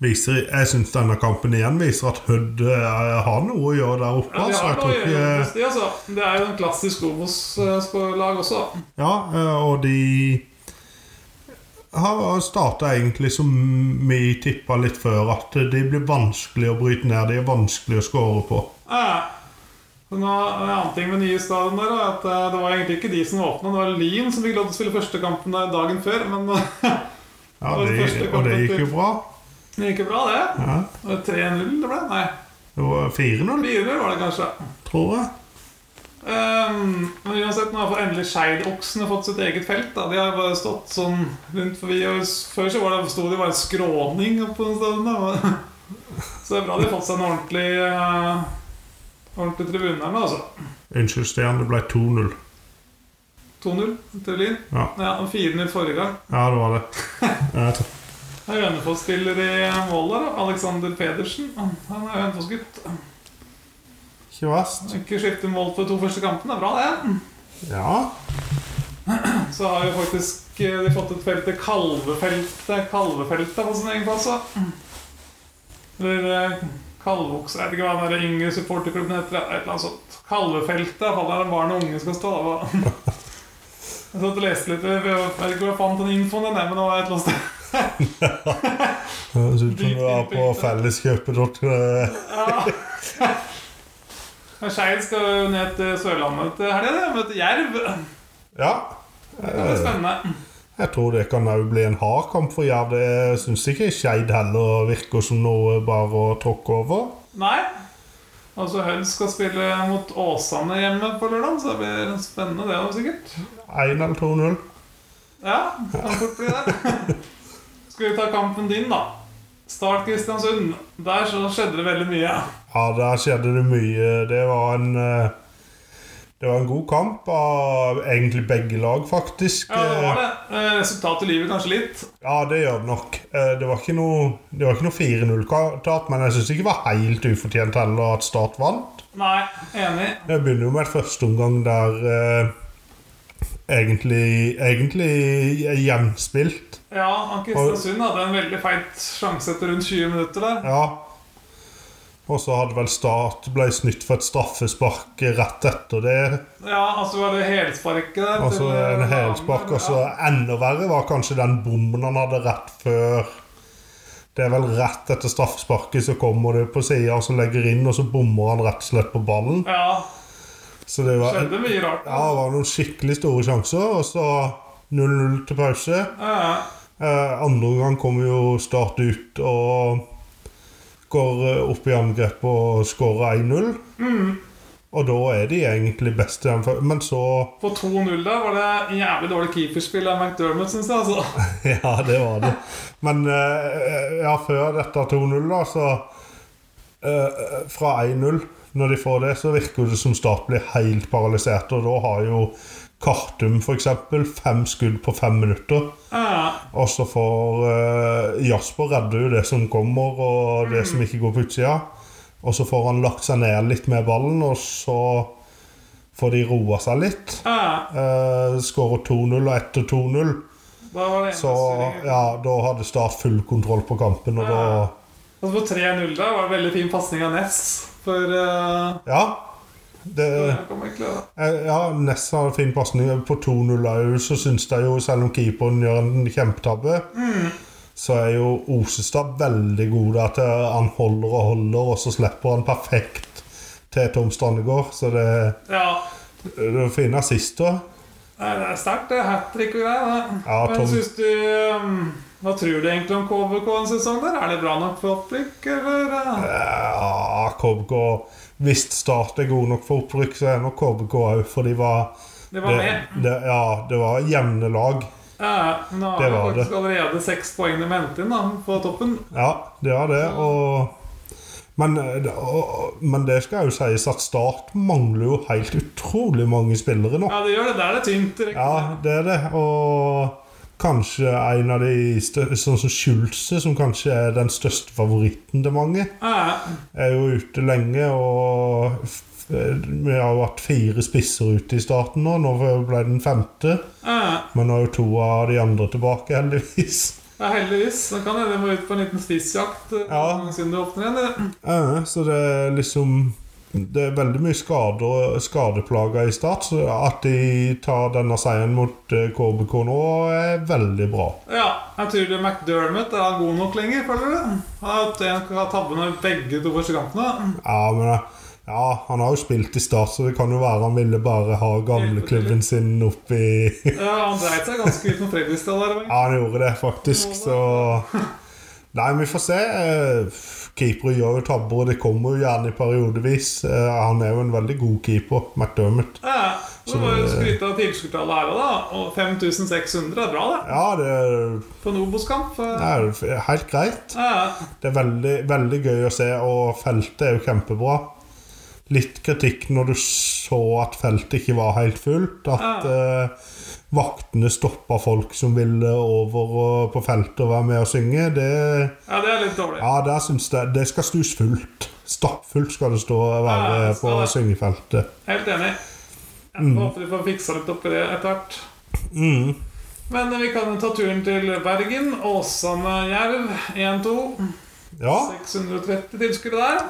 [SPEAKER 1] viser Jeg syns denne kampen igjen viser at Hødd eh, har noe å gjøre der oppe.
[SPEAKER 2] Ja, de
[SPEAKER 1] altså,
[SPEAKER 2] har
[SPEAKER 1] jeg
[SPEAKER 2] noe å
[SPEAKER 1] tror
[SPEAKER 2] gjøre
[SPEAKER 1] ikke
[SPEAKER 2] med de, altså. Det er jo en klassisk Obos-lag også. da.
[SPEAKER 1] Ja, eh, og de har starta egentlig som vi tippa litt før, at de blir vanskelig å bryte ned. De er vanskelig å skåre på.
[SPEAKER 2] Ja. Men nå, en annen ting med nye stadion der, er at eh, det var egentlig ikke de som åpna. Det var Lyn som fikk lov til å spille første kampen der dagen før. Men [LAUGHS]
[SPEAKER 1] Ja,
[SPEAKER 2] Det var
[SPEAKER 1] de,
[SPEAKER 2] det første
[SPEAKER 1] og det gikk jo bra.
[SPEAKER 2] det gikk jo bra, det.
[SPEAKER 1] Ja,
[SPEAKER 2] Det var 3-0 det ble? Nei,
[SPEAKER 1] det var 4-0,
[SPEAKER 2] 4-0 var det kanskje.
[SPEAKER 1] tror jeg.
[SPEAKER 2] Ehm, men uansett, nå har for endelig Skeidoksene fått sitt eget felt. Da. De har bare stått sånn rundt forbi. Og s- før så var det, sto de bare i skråning oppe på den stadion. Da. men- [LAUGHS] Så det er bra de har fått seg en ordentlig, eh, ordentlig tribune her nå, altså.
[SPEAKER 1] Unnskyld, Stian. Det ble 2-0.
[SPEAKER 2] 2-0 til Lyn.
[SPEAKER 1] Ja.
[SPEAKER 2] Ja, og 4-0 forrige gang.
[SPEAKER 1] Ja, det var det. Ja, takk.
[SPEAKER 2] Det er Hønefoss-spiller i mål der. da. Alexander Pedersen. Han er Hønefoss-gutt.
[SPEAKER 1] Ikke verst.
[SPEAKER 2] Ikke skiftet mål på de to første kampene. Det er Bra,
[SPEAKER 1] Ja.
[SPEAKER 2] det. Så har jo faktisk eh, de fått et felt til Kalvefeltet. Kalvefeltet på sin egen plass, da. Eller eh, Kalvoks Jeg vet ikke hva den der yngre supporterklubben heter. ja. Et eller annet sånt. Kalvefeltet er der barn og unge skal stå. da. [LAUGHS] Hva- Jeg satt og leste litt. eh, Jeg vet ikke hvor jeg fant den infoen, den, men det var et eller annet sted. [LAUGHS]
[SPEAKER 1] Det høres ut som du var på eh, felleskjøpet.
[SPEAKER 2] Ja. Skeid skal jo ned til Sørlandet til helga. det. Møte Jerv. [LAUGHS]
[SPEAKER 1] Ja.
[SPEAKER 2] Det blir spennende.
[SPEAKER 1] Jeg tror det kan òg bli en hard kamp for Jerv. Det syns ikke Skeid heller virker som noe bare å tråkke over.
[SPEAKER 2] Nei. Altså Hødd skal spille mot Åsane hjemme på lørdag, så det blir spennende, det òg, sikkert.
[SPEAKER 1] 1 eller 2-0.
[SPEAKER 2] Ja, kan fort bli det. Skal vi ta kampen din, da? Start Kristiansund. Der så skjedde det veldig mye.
[SPEAKER 1] Ja, der skjedde det mye. Det var en eh, Det var en god kamp av egentlig begge lag, faktisk.
[SPEAKER 2] Ja, det var det. Eh, Resultatet lyver kanskje litt.
[SPEAKER 1] Ja, det gjør det nok. Eh, Det var ikke noe, det var ikke noe 4-0-tap, men jeg syns ikke det var helt ufortjent heller at Start vant.
[SPEAKER 2] Nei, enig.
[SPEAKER 1] Jeg begynner jo med et førsteomgang der eh, egentlig, egentlig er jevnspilt.
[SPEAKER 2] Ja, Kristiansund hadde en veldig feit sjanse etter rundt 20 minutter der.
[SPEAKER 1] Ja. Og så hadde vel Start ble snytt for et straffespark rett etter det.
[SPEAKER 2] Ja, altså var det helsparket der.
[SPEAKER 1] Altså
[SPEAKER 2] til- eh,
[SPEAKER 1] en hælspark. Og så
[SPEAKER 2] Ja.
[SPEAKER 1] enda verre var kanskje den bommen han hadde rett før Det er vel rett etter straffesparket, så kommer det på sida og så legger inn, og så bommer han rett og slett på ballen.
[SPEAKER 2] Ja,
[SPEAKER 1] Så det var, ja,
[SPEAKER 2] skjedde mye rart.
[SPEAKER 1] det var noen skikkelig store sjanser. Og så 0-0 til pause.
[SPEAKER 2] Ja, ja.
[SPEAKER 1] Eh, andre gang kommer jo Start ut og går eh, opp i angrep og skårer 1-0. Og da er de egentlig best i den før. Men så
[SPEAKER 2] På 2-0 der var det jævlig dårlig keeperspill av McDermott, syns jeg. altså.
[SPEAKER 1] [LAUGHS] Ja, det var det. Men eh, ja, før dette 2-0, da, så eh, Fra 1-0, når de får det, så virker det som Start blir helt paralysert. Og da har jo Kartum f.eks. fem skudd på fem minutter.
[SPEAKER 2] Ja, ja.
[SPEAKER 1] Og så får eh, Jasper redder jo det som kommer, og det som ikke går på utsida. Og så får han lagt seg ned litt med ballen, og så får de roa seg litt.
[SPEAKER 2] ja.
[SPEAKER 1] Eh, Skårer 2-0 og etter 2-0.
[SPEAKER 2] Da var det
[SPEAKER 1] Så
[SPEAKER 2] eneste
[SPEAKER 1] ja, da hadde Start full kontroll på kampen, og da
[SPEAKER 2] Altså På 3-0 der var det veldig fin pasning av Ness. For eh,
[SPEAKER 1] Ja. Det,
[SPEAKER 2] jeg kommer ikke til å-
[SPEAKER 1] eh, ja, Ness har en fin pasning. På 2-0 òg, så syns jeg jo, selv om keeperen gjør en kjempetabbe,
[SPEAKER 2] Mm,
[SPEAKER 1] så er jo Osestad veldig god der til han holder og holder, og så slipper han perfekt til Tom Strandegård. Så det,
[SPEAKER 2] Ja.
[SPEAKER 1] det er fine assister.
[SPEAKER 2] Nei, det er sterkt, det. Hat trick og greier. det.
[SPEAKER 1] Ja, Tom-
[SPEAKER 2] Men syns du eh, Hva tror du egentlig om KVK en sesong der? Er det bra nok for opprykk, eller? eh?
[SPEAKER 1] Ja, KBK Hvis Start er god nok for opprykk, så er nok KBK òg, for de var
[SPEAKER 2] Det var med.
[SPEAKER 1] det, ja, det var jevne lag.
[SPEAKER 2] Ja, men nå har
[SPEAKER 1] Det
[SPEAKER 2] vi
[SPEAKER 1] var
[SPEAKER 2] faktisk allerede seks poeng de hentet inn da, på toppen.
[SPEAKER 1] Ja, det var det, og men, eh, og- men det skal jo sies at Start mangler jo helt utrolig mange spillere nå.
[SPEAKER 2] Ja, det gjør det. Der er det tynt. riktig.
[SPEAKER 1] Ja, det er det. Og kanskje en av de stø- Sånn som Schulze, som kanskje er den største favoritten til mange,
[SPEAKER 2] Ja,
[SPEAKER 1] er jo ute lenge. Og f- vi har jo hatt fire spisser ute i starten nå. Nå ble den femte.
[SPEAKER 2] ja.
[SPEAKER 1] Men nå er jo to av de andre tilbake, heldigvis.
[SPEAKER 2] Ja, heldigvis. Da kan jeg må ut på en liten spissjakt eh,
[SPEAKER 1] Ja.
[SPEAKER 2] siden du åpner igjen.
[SPEAKER 1] Ja, så det er liksom Det er veldig mye skader, skadeplager i start, så at de tar denne seieren mot eh, KBK nå, er veldig bra.
[SPEAKER 2] Ja, jeg tror det er McDermott. Er han god nok lenger, føler du? Han har hatt en har tabbe når begge to første kampene.
[SPEAKER 1] Ja, men eh, ja, han har jo spilt i start, så det kan jo være han ville bare ha gamleklubben sin opp i [LAUGHS] Ja,
[SPEAKER 2] Ja, han dreit seg ganske ut med Fredrikstad der. men-
[SPEAKER 1] han gjorde det faktisk, så Nei, vi får se. Eh, Keepere gjør jo tabber, og det kommer jo gjerne i periodevis. Eh, Han er jo en veldig god keeper, McDermott.
[SPEAKER 2] Ja, så må jo skryte av tilskuertallet her også, da. Og 5600 er bra, det.
[SPEAKER 1] Ja, det er-
[SPEAKER 2] På en Obos-kamp. eh.
[SPEAKER 1] det er helt greit.
[SPEAKER 2] Ja,
[SPEAKER 1] Det er veldig, veldig gøy å se, og feltet er jo kjempebra. Litt kritikk når du så at feltet ikke var helt fullt. At
[SPEAKER 2] Ah.
[SPEAKER 1] eh, vaktene stoppa folk som ville over og på feltet og være med og synge. Det,
[SPEAKER 2] ja, det er litt dårlig.
[SPEAKER 1] ja, der syns jeg det skal stus fullt. Stappfullt skal det stå og være
[SPEAKER 2] Ja, Ah, det
[SPEAKER 1] på
[SPEAKER 2] skal det.
[SPEAKER 1] syngefeltet.
[SPEAKER 2] Helt enig. Jeg håper vi får fiksa litt opp i det etter hvert.
[SPEAKER 1] Mm.
[SPEAKER 2] Men vi kan ta turen til Bergen. Åsane-Jerv 1-2.
[SPEAKER 1] Ja,
[SPEAKER 2] 630 tilskuere der.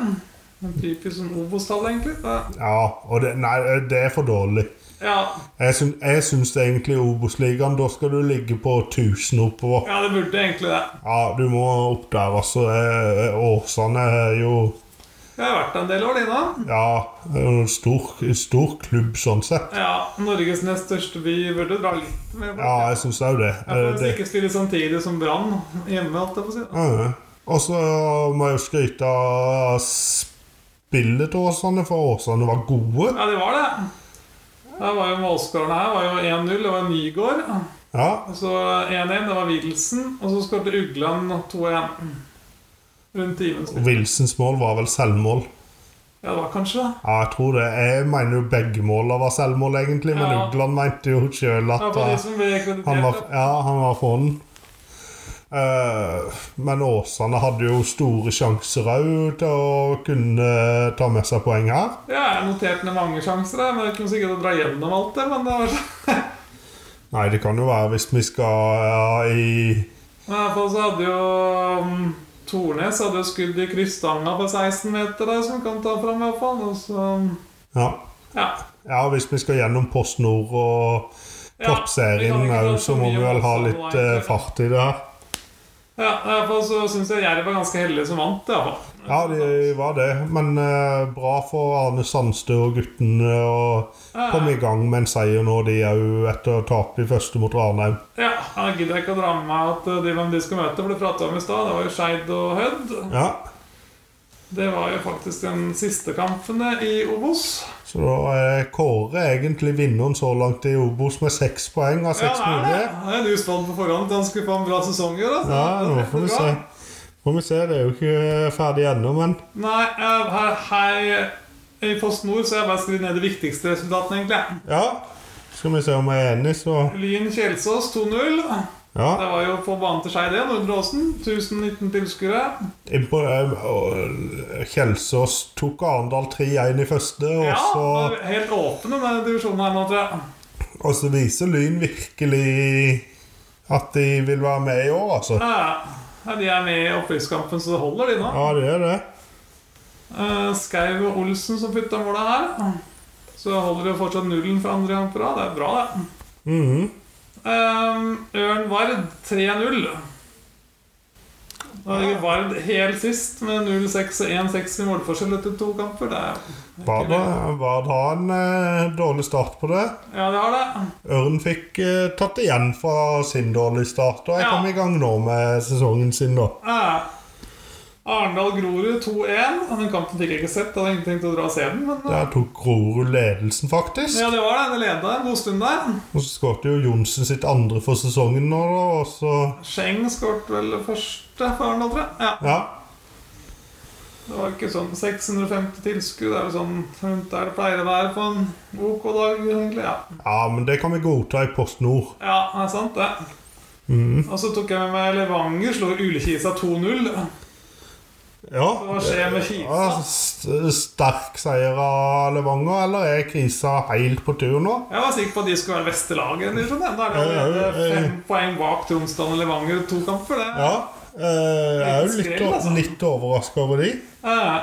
[SPEAKER 2] En typisk sånn Obos-tall, egentlig. Da-
[SPEAKER 1] ja. Og det, nei, det er for dårlig.
[SPEAKER 2] Ja,
[SPEAKER 1] Jeg syns, jeg syns egentlig Obos-ligaen, da skal du ligge på 1000 oppover.
[SPEAKER 2] ja, det burde egentlig det.
[SPEAKER 1] Ja, du må opp der, altså. Eh, Åsane er jo
[SPEAKER 2] Jeg har vært der en del år, Lina.
[SPEAKER 1] Ja, en stor, stor klubb sånn sett.
[SPEAKER 2] Ja, Norges nest største by burde dra litt mer på.
[SPEAKER 1] Ja, jeg syns òg det.
[SPEAKER 2] Jeg får
[SPEAKER 1] Eh,
[SPEAKER 2] nesten
[SPEAKER 1] det.
[SPEAKER 2] ikke spille samtidig som Brann hjemme. Alt jeg får si.
[SPEAKER 1] Ja. Og så må jeg jo skryte av spillet til Åsane, for Åsane var gode.
[SPEAKER 2] Ja, det var det. Der var jo målskårerne her var jo 1-0. Det var Nygaard.
[SPEAKER 1] Ja,
[SPEAKER 2] Og så 1-1. Det var Wilson. Og så skåret Ugland 2-1. Rundt timen.
[SPEAKER 1] og Wilsons mål var vel selvmål.
[SPEAKER 2] Ja, det var kanskje det.
[SPEAKER 1] Ja, jeg tror det. Jeg mener jo begge måla var selvmål, egentlig, men
[SPEAKER 2] Ja.
[SPEAKER 1] Ugland mente jo sjøl
[SPEAKER 2] Det var
[SPEAKER 1] at
[SPEAKER 2] på de
[SPEAKER 1] eh,
[SPEAKER 2] som ble kreditert.
[SPEAKER 1] Han var,
[SPEAKER 2] da.
[SPEAKER 1] ja, han var for den. Eh, men Åsane hadde jo store sjanser òg til å kunne ta med seg poeng her.
[SPEAKER 2] Ja, jeg noterte ned mange sjanser, der, men jeg kunne sikkert dra gjennom alt det. Men det var sånn. så-
[SPEAKER 1] Nei, det kan jo være hvis vi skal ja, i
[SPEAKER 2] Men i hvert fall så hadde jo mm, Tornes hadde jo skudd i krysstanga på 16 meter der, som kan ta fram, i hvert fall. Og så um,
[SPEAKER 1] ja,
[SPEAKER 2] Ja.
[SPEAKER 1] ja, hvis vi skal gjennom Post Nord og
[SPEAKER 2] Ja, vi kan
[SPEAKER 1] toppserien
[SPEAKER 2] ikke
[SPEAKER 1] òg,
[SPEAKER 2] prate
[SPEAKER 1] så
[SPEAKER 2] for
[SPEAKER 1] må vi
[SPEAKER 2] mye om
[SPEAKER 1] vel ha
[SPEAKER 2] Åsane nå,
[SPEAKER 1] litt eh,
[SPEAKER 2] egentlig.
[SPEAKER 1] fart i det her.
[SPEAKER 2] Ja, i hvert fall så syns jeg Jerv var ganske heldige som vant. i hvert fall.
[SPEAKER 1] Ja, de var det. Men eh, bra for Arne Sandstø og guttene å
[SPEAKER 2] Ja.
[SPEAKER 1] komme i gang med en seier nå, de òg, etter å ha tapt de første mot Ranheim.
[SPEAKER 2] Ja, Jeg gidder ikke å dra med meg at eh, de hvem de skal møte, ble prata om i stad. Det var jo Skeid og Hødd.
[SPEAKER 1] Ja.
[SPEAKER 2] Det var jo faktisk den siste kampen eh, i Obos.
[SPEAKER 1] Så da er Kåre egentlig vinneren så langt i Obos med seks poeng av
[SPEAKER 2] Ja,
[SPEAKER 1] seks
[SPEAKER 2] det er det.
[SPEAKER 1] mulige.
[SPEAKER 2] Det er du spådd på forhånd at han skulle få en bra sesong i år. altså.
[SPEAKER 1] Ja, nå
[SPEAKER 2] Det er
[SPEAKER 1] får vi
[SPEAKER 2] bra.
[SPEAKER 1] se. Får vi se, Det er jo ikke ferdig ennå, men
[SPEAKER 2] Nei, eh, her, her i Post Nord så har jeg bare skrevet ned de viktigste resultatene, egentlig.
[SPEAKER 1] ja. Skal vi se om jeg er enig, så
[SPEAKER 2] Lyn-Kjelsås 2-0.
[SPEAKER 1] Ja.
[SPEAKER 2] Det var jo på banen til Skeid igjen, Nordre Åsen. 1019 tilskuere.
[SPEAKER 1] Impo- eh, og Kjelsås tok Arendal 3-1 i første, og
[SPEAKER 2] Ja,
[SPEAKER 1] så,
[SPEAKER 2] det er helt åpen denne divisjonen her nå, tror jeg.
[SPEAKER 1] og så viser Lyn virkelig at de vil være med i år, altså.
[SPEAKER 2] Ja, ja. de er med i opprykkskampen, så det holder, de nå.
[SPEAKER 1] Ja, det er det.
[SPEAKER 2] Eh, Skau og Olsen som putta måla her. Så holder de jo fortsatt nullen for andre gang på rad. Det er bra, det.
[SPEAKER 1] Mhm.
[SPEAKER 2] Ehm, Ørn Vard 3-0. Da ligger Vard helt sist med 0-6 og 1-6 i målforskjell etter to kamper. Det er,
[SPEAKER 1] Vard Vard har en eh, dårlig start på det.
[SPEAKER 2] ja, de har det.
[SPEAKER 1] Ørn fikk eh, tatt igjen fra sin dårlige start, og jeg
[SPEAKER 2] Ja.
[SPEAKER 1] kom i gang nå med sesongen sin, da.
[SPEAKER 2] Eh, Arendal-Grorud 2-1. Den kampen fikk jeg ikke sett. Jeg hadde ingenting til å dra og se den. Men eh,
[SPEAKER 1] Der tok Grorud ledelsen, faktisk.
[SPEAKER 2] ja, det var det. Det leda en god stund der.
[SPEAKER 1] Og så skåret jo Johnsen sitt andre for sesongen nå, da, og så
[SPEAKER 2] Scheng skåret vel første for Arendal, tror jeg. Ja,
[SPEAKER 1] Ja.
[SPEAKER 2] det var ikke sånn 650 tilskudd. Det er vel sånn rundt der det pleier å være på en OK dag, egentlig. Ja.
[SPEAKER 1] Ja, men det kan vi godta i Post Nord.
[SPEAKER 2] Ja, det er sant det.
[SPEAKER 1] Mm.
[SPEAKER 2] Og så tok jeg med meg Levanger, slo Ulekisa 2-0.
[SPEAKER 1] Ja.
[SPEAKER 2] Hva skjer med
[SPEAKER 1] ja
[SPEAKER 2] Kisa?
[SPEAKER 1] st- sterk seier av Levanger, eller er krisa helt på tur nå?
[SPEAKER 2] Jeg var sikker på at de skulle være beste laget. i divisjonen, ja. Da er det
[SPEAKER 1] Ja, ja,
[SPEAKER 2] allerede
[SPEAKER 1] ja, ja.
[SPEAKER 2] fem poeng bak Tromsdalen og Levanger to kamper, det.
[SPEAKER 1] Ja. eh, Jeg er jo
[SPEAKER 2] Litt
[SPEAKER 1] litt,
[SPEAKER 2] skrell, altså.
[SPEAKER 1] litt overraska over de.
[SPEAKER 2] Eh,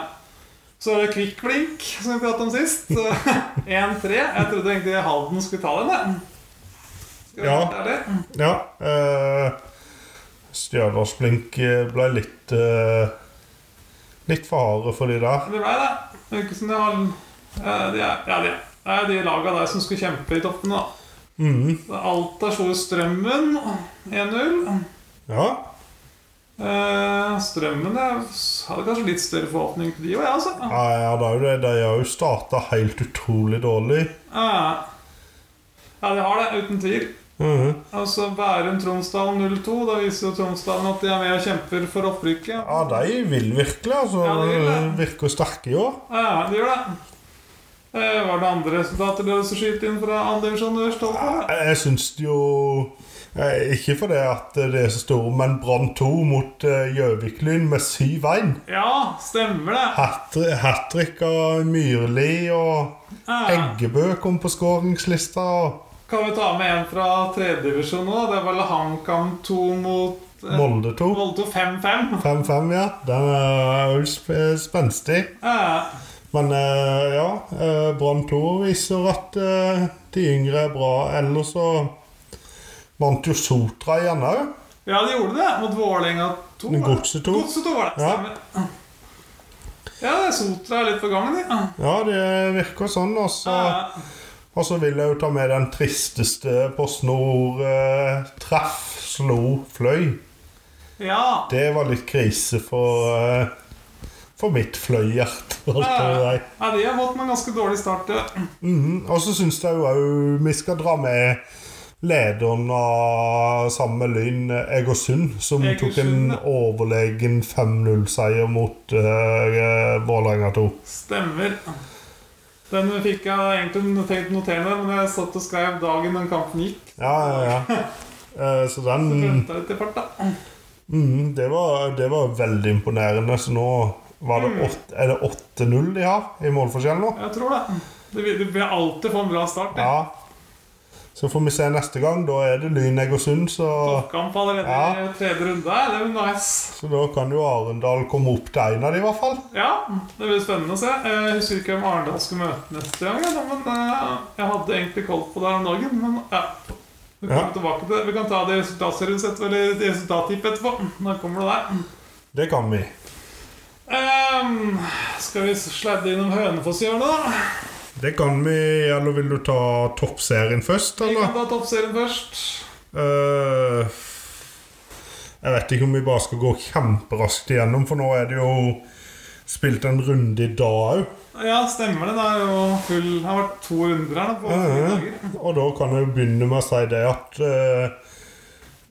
[SPEAKER 2] Så er det Kvikk Blink, som vi pratet om sist. [LAUGHS] 1-3. Jeg trodde egentlig Halden skulle ta den. jeg. Skal jeg
[SPEAKER 1] Ja.
[SPEAKER 2] være helt ærlig?
[SPEAKER 1] Ja. eh, Stjørdals-Blink eh, ble litt eh, Litt for harde for de der.
[SPEAKER 2] Det ble det. Det virker som de har eh, de er, Ja, de er. Det er de laga der som skulle kjempe i toppen, da.
[SPEAKER 1] Mhm.
[SPEAKER 2] Alta slo Strømmen 1-0.
[SPEAKER 1] Ja.
[SPEAKER 2] Eh, strømmen jeg hadde kanskje litt større forhåpning til de òg, jeg, altså.
[SPEAKER 1] Ja, ja, det er jo det. De har jo starta helt utrolig dårlig.
[SPEAKER 2] Eh, ja, de har det, uten tvil.
[SPEAKER 1] Mhm.
[SPEAKER 2] Altså Bærum-Tromsdalen 0-2. Da viser jo Tromsdalen at de er med og kjemper for opprykket.
[SPEAKER 1] Ja, de vil virkelig, altså.
[SPEAKER 2] Ja, de vil det.
[SPEAKER 1] Virker sterke i år.
[SPEAKER 2] Ja, de gjør det. Eh, var det andre resultater dere også skyte inn fra andre divisjon du er stolt av?
[SPEAKER 1] Jeg jeg syns det jo eh, Ikke fordi at det er så store, men Brann 2 mot eh, Gjøvik-Lyn med 7-1.
[SPEAKER 2] Ja, stemmer det.
[SPEAKER 1] Hat trick av Myrli og
[SPEAKER 2] Eh,
[SPEAKER 1] Eggebø kom på skåringslista. Og
[SPEAKER 2] kan vi ta med en fra tredjedivisjon nå? Det var HamKam 2 mot eh,
[SPEAKER 1] Molde 2.
[SPEAKER 2] Molde 5-5.
[SPEAKER 1] 5-5, ja. Den er jo sp- spenstig.
[SPEAKER 2] Eh,
[SPEAKER 1] Men eh, ja, eh, Brann 2 viser at eh, de yngre er bra. Ellers så vant jo Sotra igjen òg.
[SPEAKER 2] Ja, de gjorde det. Mot Vålerenga 2. var det?
[SPEAKER 1] Godset 2.
[SPEAKER 2] Godset 2 var det.
[SPEAKER 1] Ja.
[SPEAKER 2] Stemmer. Ja, det er Sotra er litt på gangen, de. Eh,
[SPEAKER 1] Ja, det virker sånn. Og så
[SPEAKER 2] Ja.
[SPEAKER 1] Og så vil jeg jo ta med den tristeste PostNord eh, treff, slo, fløy.
[SPEAKER 2] ja.
[SPEAKER 1] Det var litt krise for eh, for mitt fløyhjerte. holdt jeg på å si.
[SPEAKER 2] ja, de har fått en ganske dårlig start. Ja.
[SPEAKER 1] Mhm, Og så syns jeg jo òg vi skal dra med lederen av samme Lyn, Egersund, som tok en
[SPEAKER 2] Egersund, ja.
[SPEAKER 1] overlegen 5-0-seier mot eh, Vålerenga 2.
[SPEAKER 2] Stemmer. Den fikk jeg egentlig tenkt å notere ned, men jeg satt og skrev dagen den kampen gikk.
[SPEAKER 1] Ja, [LAUGHS] ja, ja. Eh, så den
[SPEAKER 2] Glemte litt i fart, da.
[SPEAKER 1] Mm, det, var, det var veldig imponerende. Så nå var det åt- er det 8-0 de har i målforskjell nå.
[SPEAKER 2] Jeg tror det. Det vil, det vil alltid få en bra start. Ja.
[SPEAKER 1] Ja. Så får vi se neste gang. Da er det Lyn Egersund, så,
[SPEAKER 2] Toppkamp allerede
[SPEAKER 1] Ja.
[SPEAKER 2] i tredje runde. Det blir nice.
[SPEAKER 1] så da kan jo Arendal komme opp til en av de i hvert fall.
[SPEAKER 2] Ja, det blir spennende å se. Jeg husker ikke hvem eh, Arendal skal møte neste gang. ja, da, Men eh, Jeg hadde egentlig koll på det her om dagen, men ja. Vi kommer
[SPEAKER 1] Ja.
[SPEAKER 2] tilbake til det. Vi kan ta det i resultatserien sett, eller i resultattipp etterpå. Da kommer det der.
[SPEAKER 1] Det kan vi.
[SPEAKER 2] Ehm, skal vi sladde innom Hønefosshjørnet, da?
[SPEAKER 1] Det kan vi, eller vil du ta toppserien først,
[SPEAKER 2] Vi kan
[SPEAKER 1] eller?
[SPEAKER 2] ta toppserien først.
[SPEAKER 1] Eh, jeg vet ikke om vi bare skal gå kjemperaskt igjennom, for nå er det jo spilt en runde i dag òg.
[SPEAKER 2] Ja, stemmer det. Det er jo full Det har vært to runder her da, på fire
[SPEAKER 1] Mhm.
[SPEAKER 2] dager.
[SPEAKER 1] Og da kan jeg jo begynne med å si det at eh,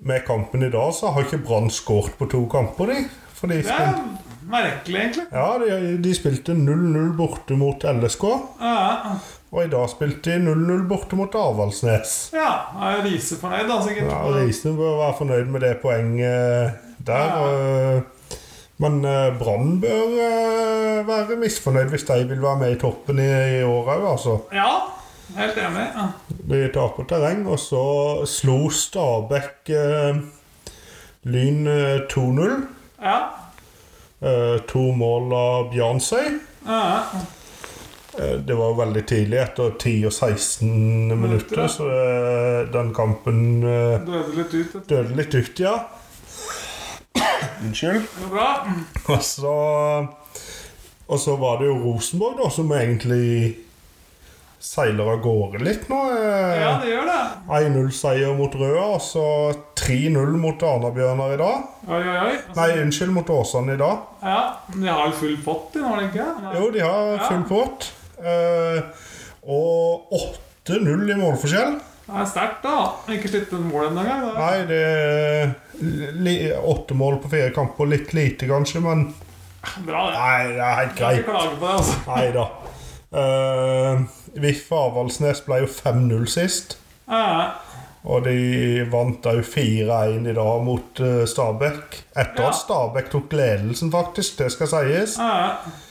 [SPEAKER 1] med kampen i dag så har ikke Brann skåret på to kamper, de. For de
[SPEAKER 2] Det
[SPEAKER 1] spilte
[SPEAKER 2] er merkelig, egentlig.
[SPEAKER 1] Ja, de, de spilte 0-0 borte mot LSK,
[SPEAKER 2] Ja,
[SPEAKER 1] og i dag spilte de 0-0 borte mot Avaldsnes.
[SPEAKER 2] ja. Jeg er Riise fornøyd, da, sikkert.
[SPEAKER 1] Ja, Risen bør være fornøyd med det poenget der. og, Men eh, Brann bør eh, være misfornøyd hvis de vil være med i toppen i, i år òg, altså.
[SPEAKER 2] Ja, helt enig. Ja.
[SPEAKER 1] De taper terreng, og så slo Stabæk eh, Lyn eh, 2-0.
[SPEAKER 2] Ja.
[SPEAKER 1] Eh, to mål av Bjarnsøy.
[SPEAKER 2] Ja.
[SPEAKER 1] Eh, Det var veldig tidlig, etter 10 og 16
[SPEAKER 2] Minutter,
[SPEAKER 1] minutter,
[SPEAKER 2] ja.
[SPEAKER 1] så eh, den kampen eh,
[SPEAKER 2] Døde litt ut. vet du.
[SPEAKER 1] døde litt ut, ja. Unnskyld.
[SPEAKER 2] Det går bra.
[SPEAKER 1] Og så, og så var det jo Rosenborg, da, som egentlig seiler av gårde litt nå. eh.
[SPEAKER 2] Ja, det gjør det.
[SPEAKER 1] 1-0-seier mot Røa, og så 3-0 mot Arna-Bjørnar i dag.
[SPEAKER 2] Oi, oi, oi. Altså,
[SPEAKER 1] Nei, unnskyld, mot Åsane i dag.
[SPEAKER 2] ja, de har jo full pott i nå, har de ikke? Nei.
[SPEAKER 1] Jo, de har full pott. Eh, Og 8-0 i målforskjell.
[SPEAKER 2] Det er sterkt, da. Ikke slitt et mål ennå engang. da.
[SPEAKER 1] Nei, det er li, åtte mål på fire kamper. Litt lite, kanskje, men
[SPEAKER 2] Bra, det.
[SPEAKER 1] Nei, det er helt
[SPEAKER 2] Skal ikke
[SPEAKER 1] greit.
[SPEAKER 2] klage på det, altså.
[SPEAKER 1] Nei da. VIF Eh, Avaldsnes ble jo 5-0 sist.
[SPEAKER 2] Ja, ja.
[SPEAKER 1] Og de vant da jo 4-1 i dag mot eh, Stabæk. Etter
[SPEAKER 2] Ja.
[SPEAKER 1] at Stabæk tok ledelsen, faktisk. Det skal sies.
[SPEAKER 2] ja, ja.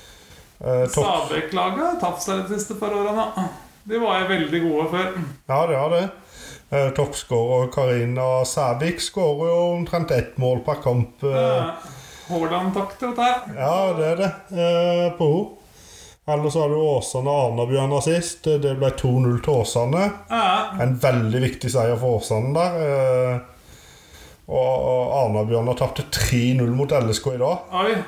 [SPEAKER 1] Eh, topp.
[SPEAKER 2] Stabæk-laget har tapt seg de siste par årene. da. De var jo veldig gode før.
[SPEAKER 1] Ja, det har det. Eh, Toppskårer Karina Sævik skårer jo omtrent ett mål per kamp. eh,
[SPEAKER 2] Ja. Haaland-takter, dette her.
[SPEAKER 1] Ja, det er det. Eh, på henne. Eller så har du Åsane og Arna-Bjørnar sist. Det ble 2-0 til Åsane.
[SPEAKER 2] Ja,
[SPEAKER 1] En veldig viktig seier for Åsane der. Eh, og og Arna-Bjørnar tapte 3-0 mot LSK i dag.
[SPEAKER 2] ja. Oi.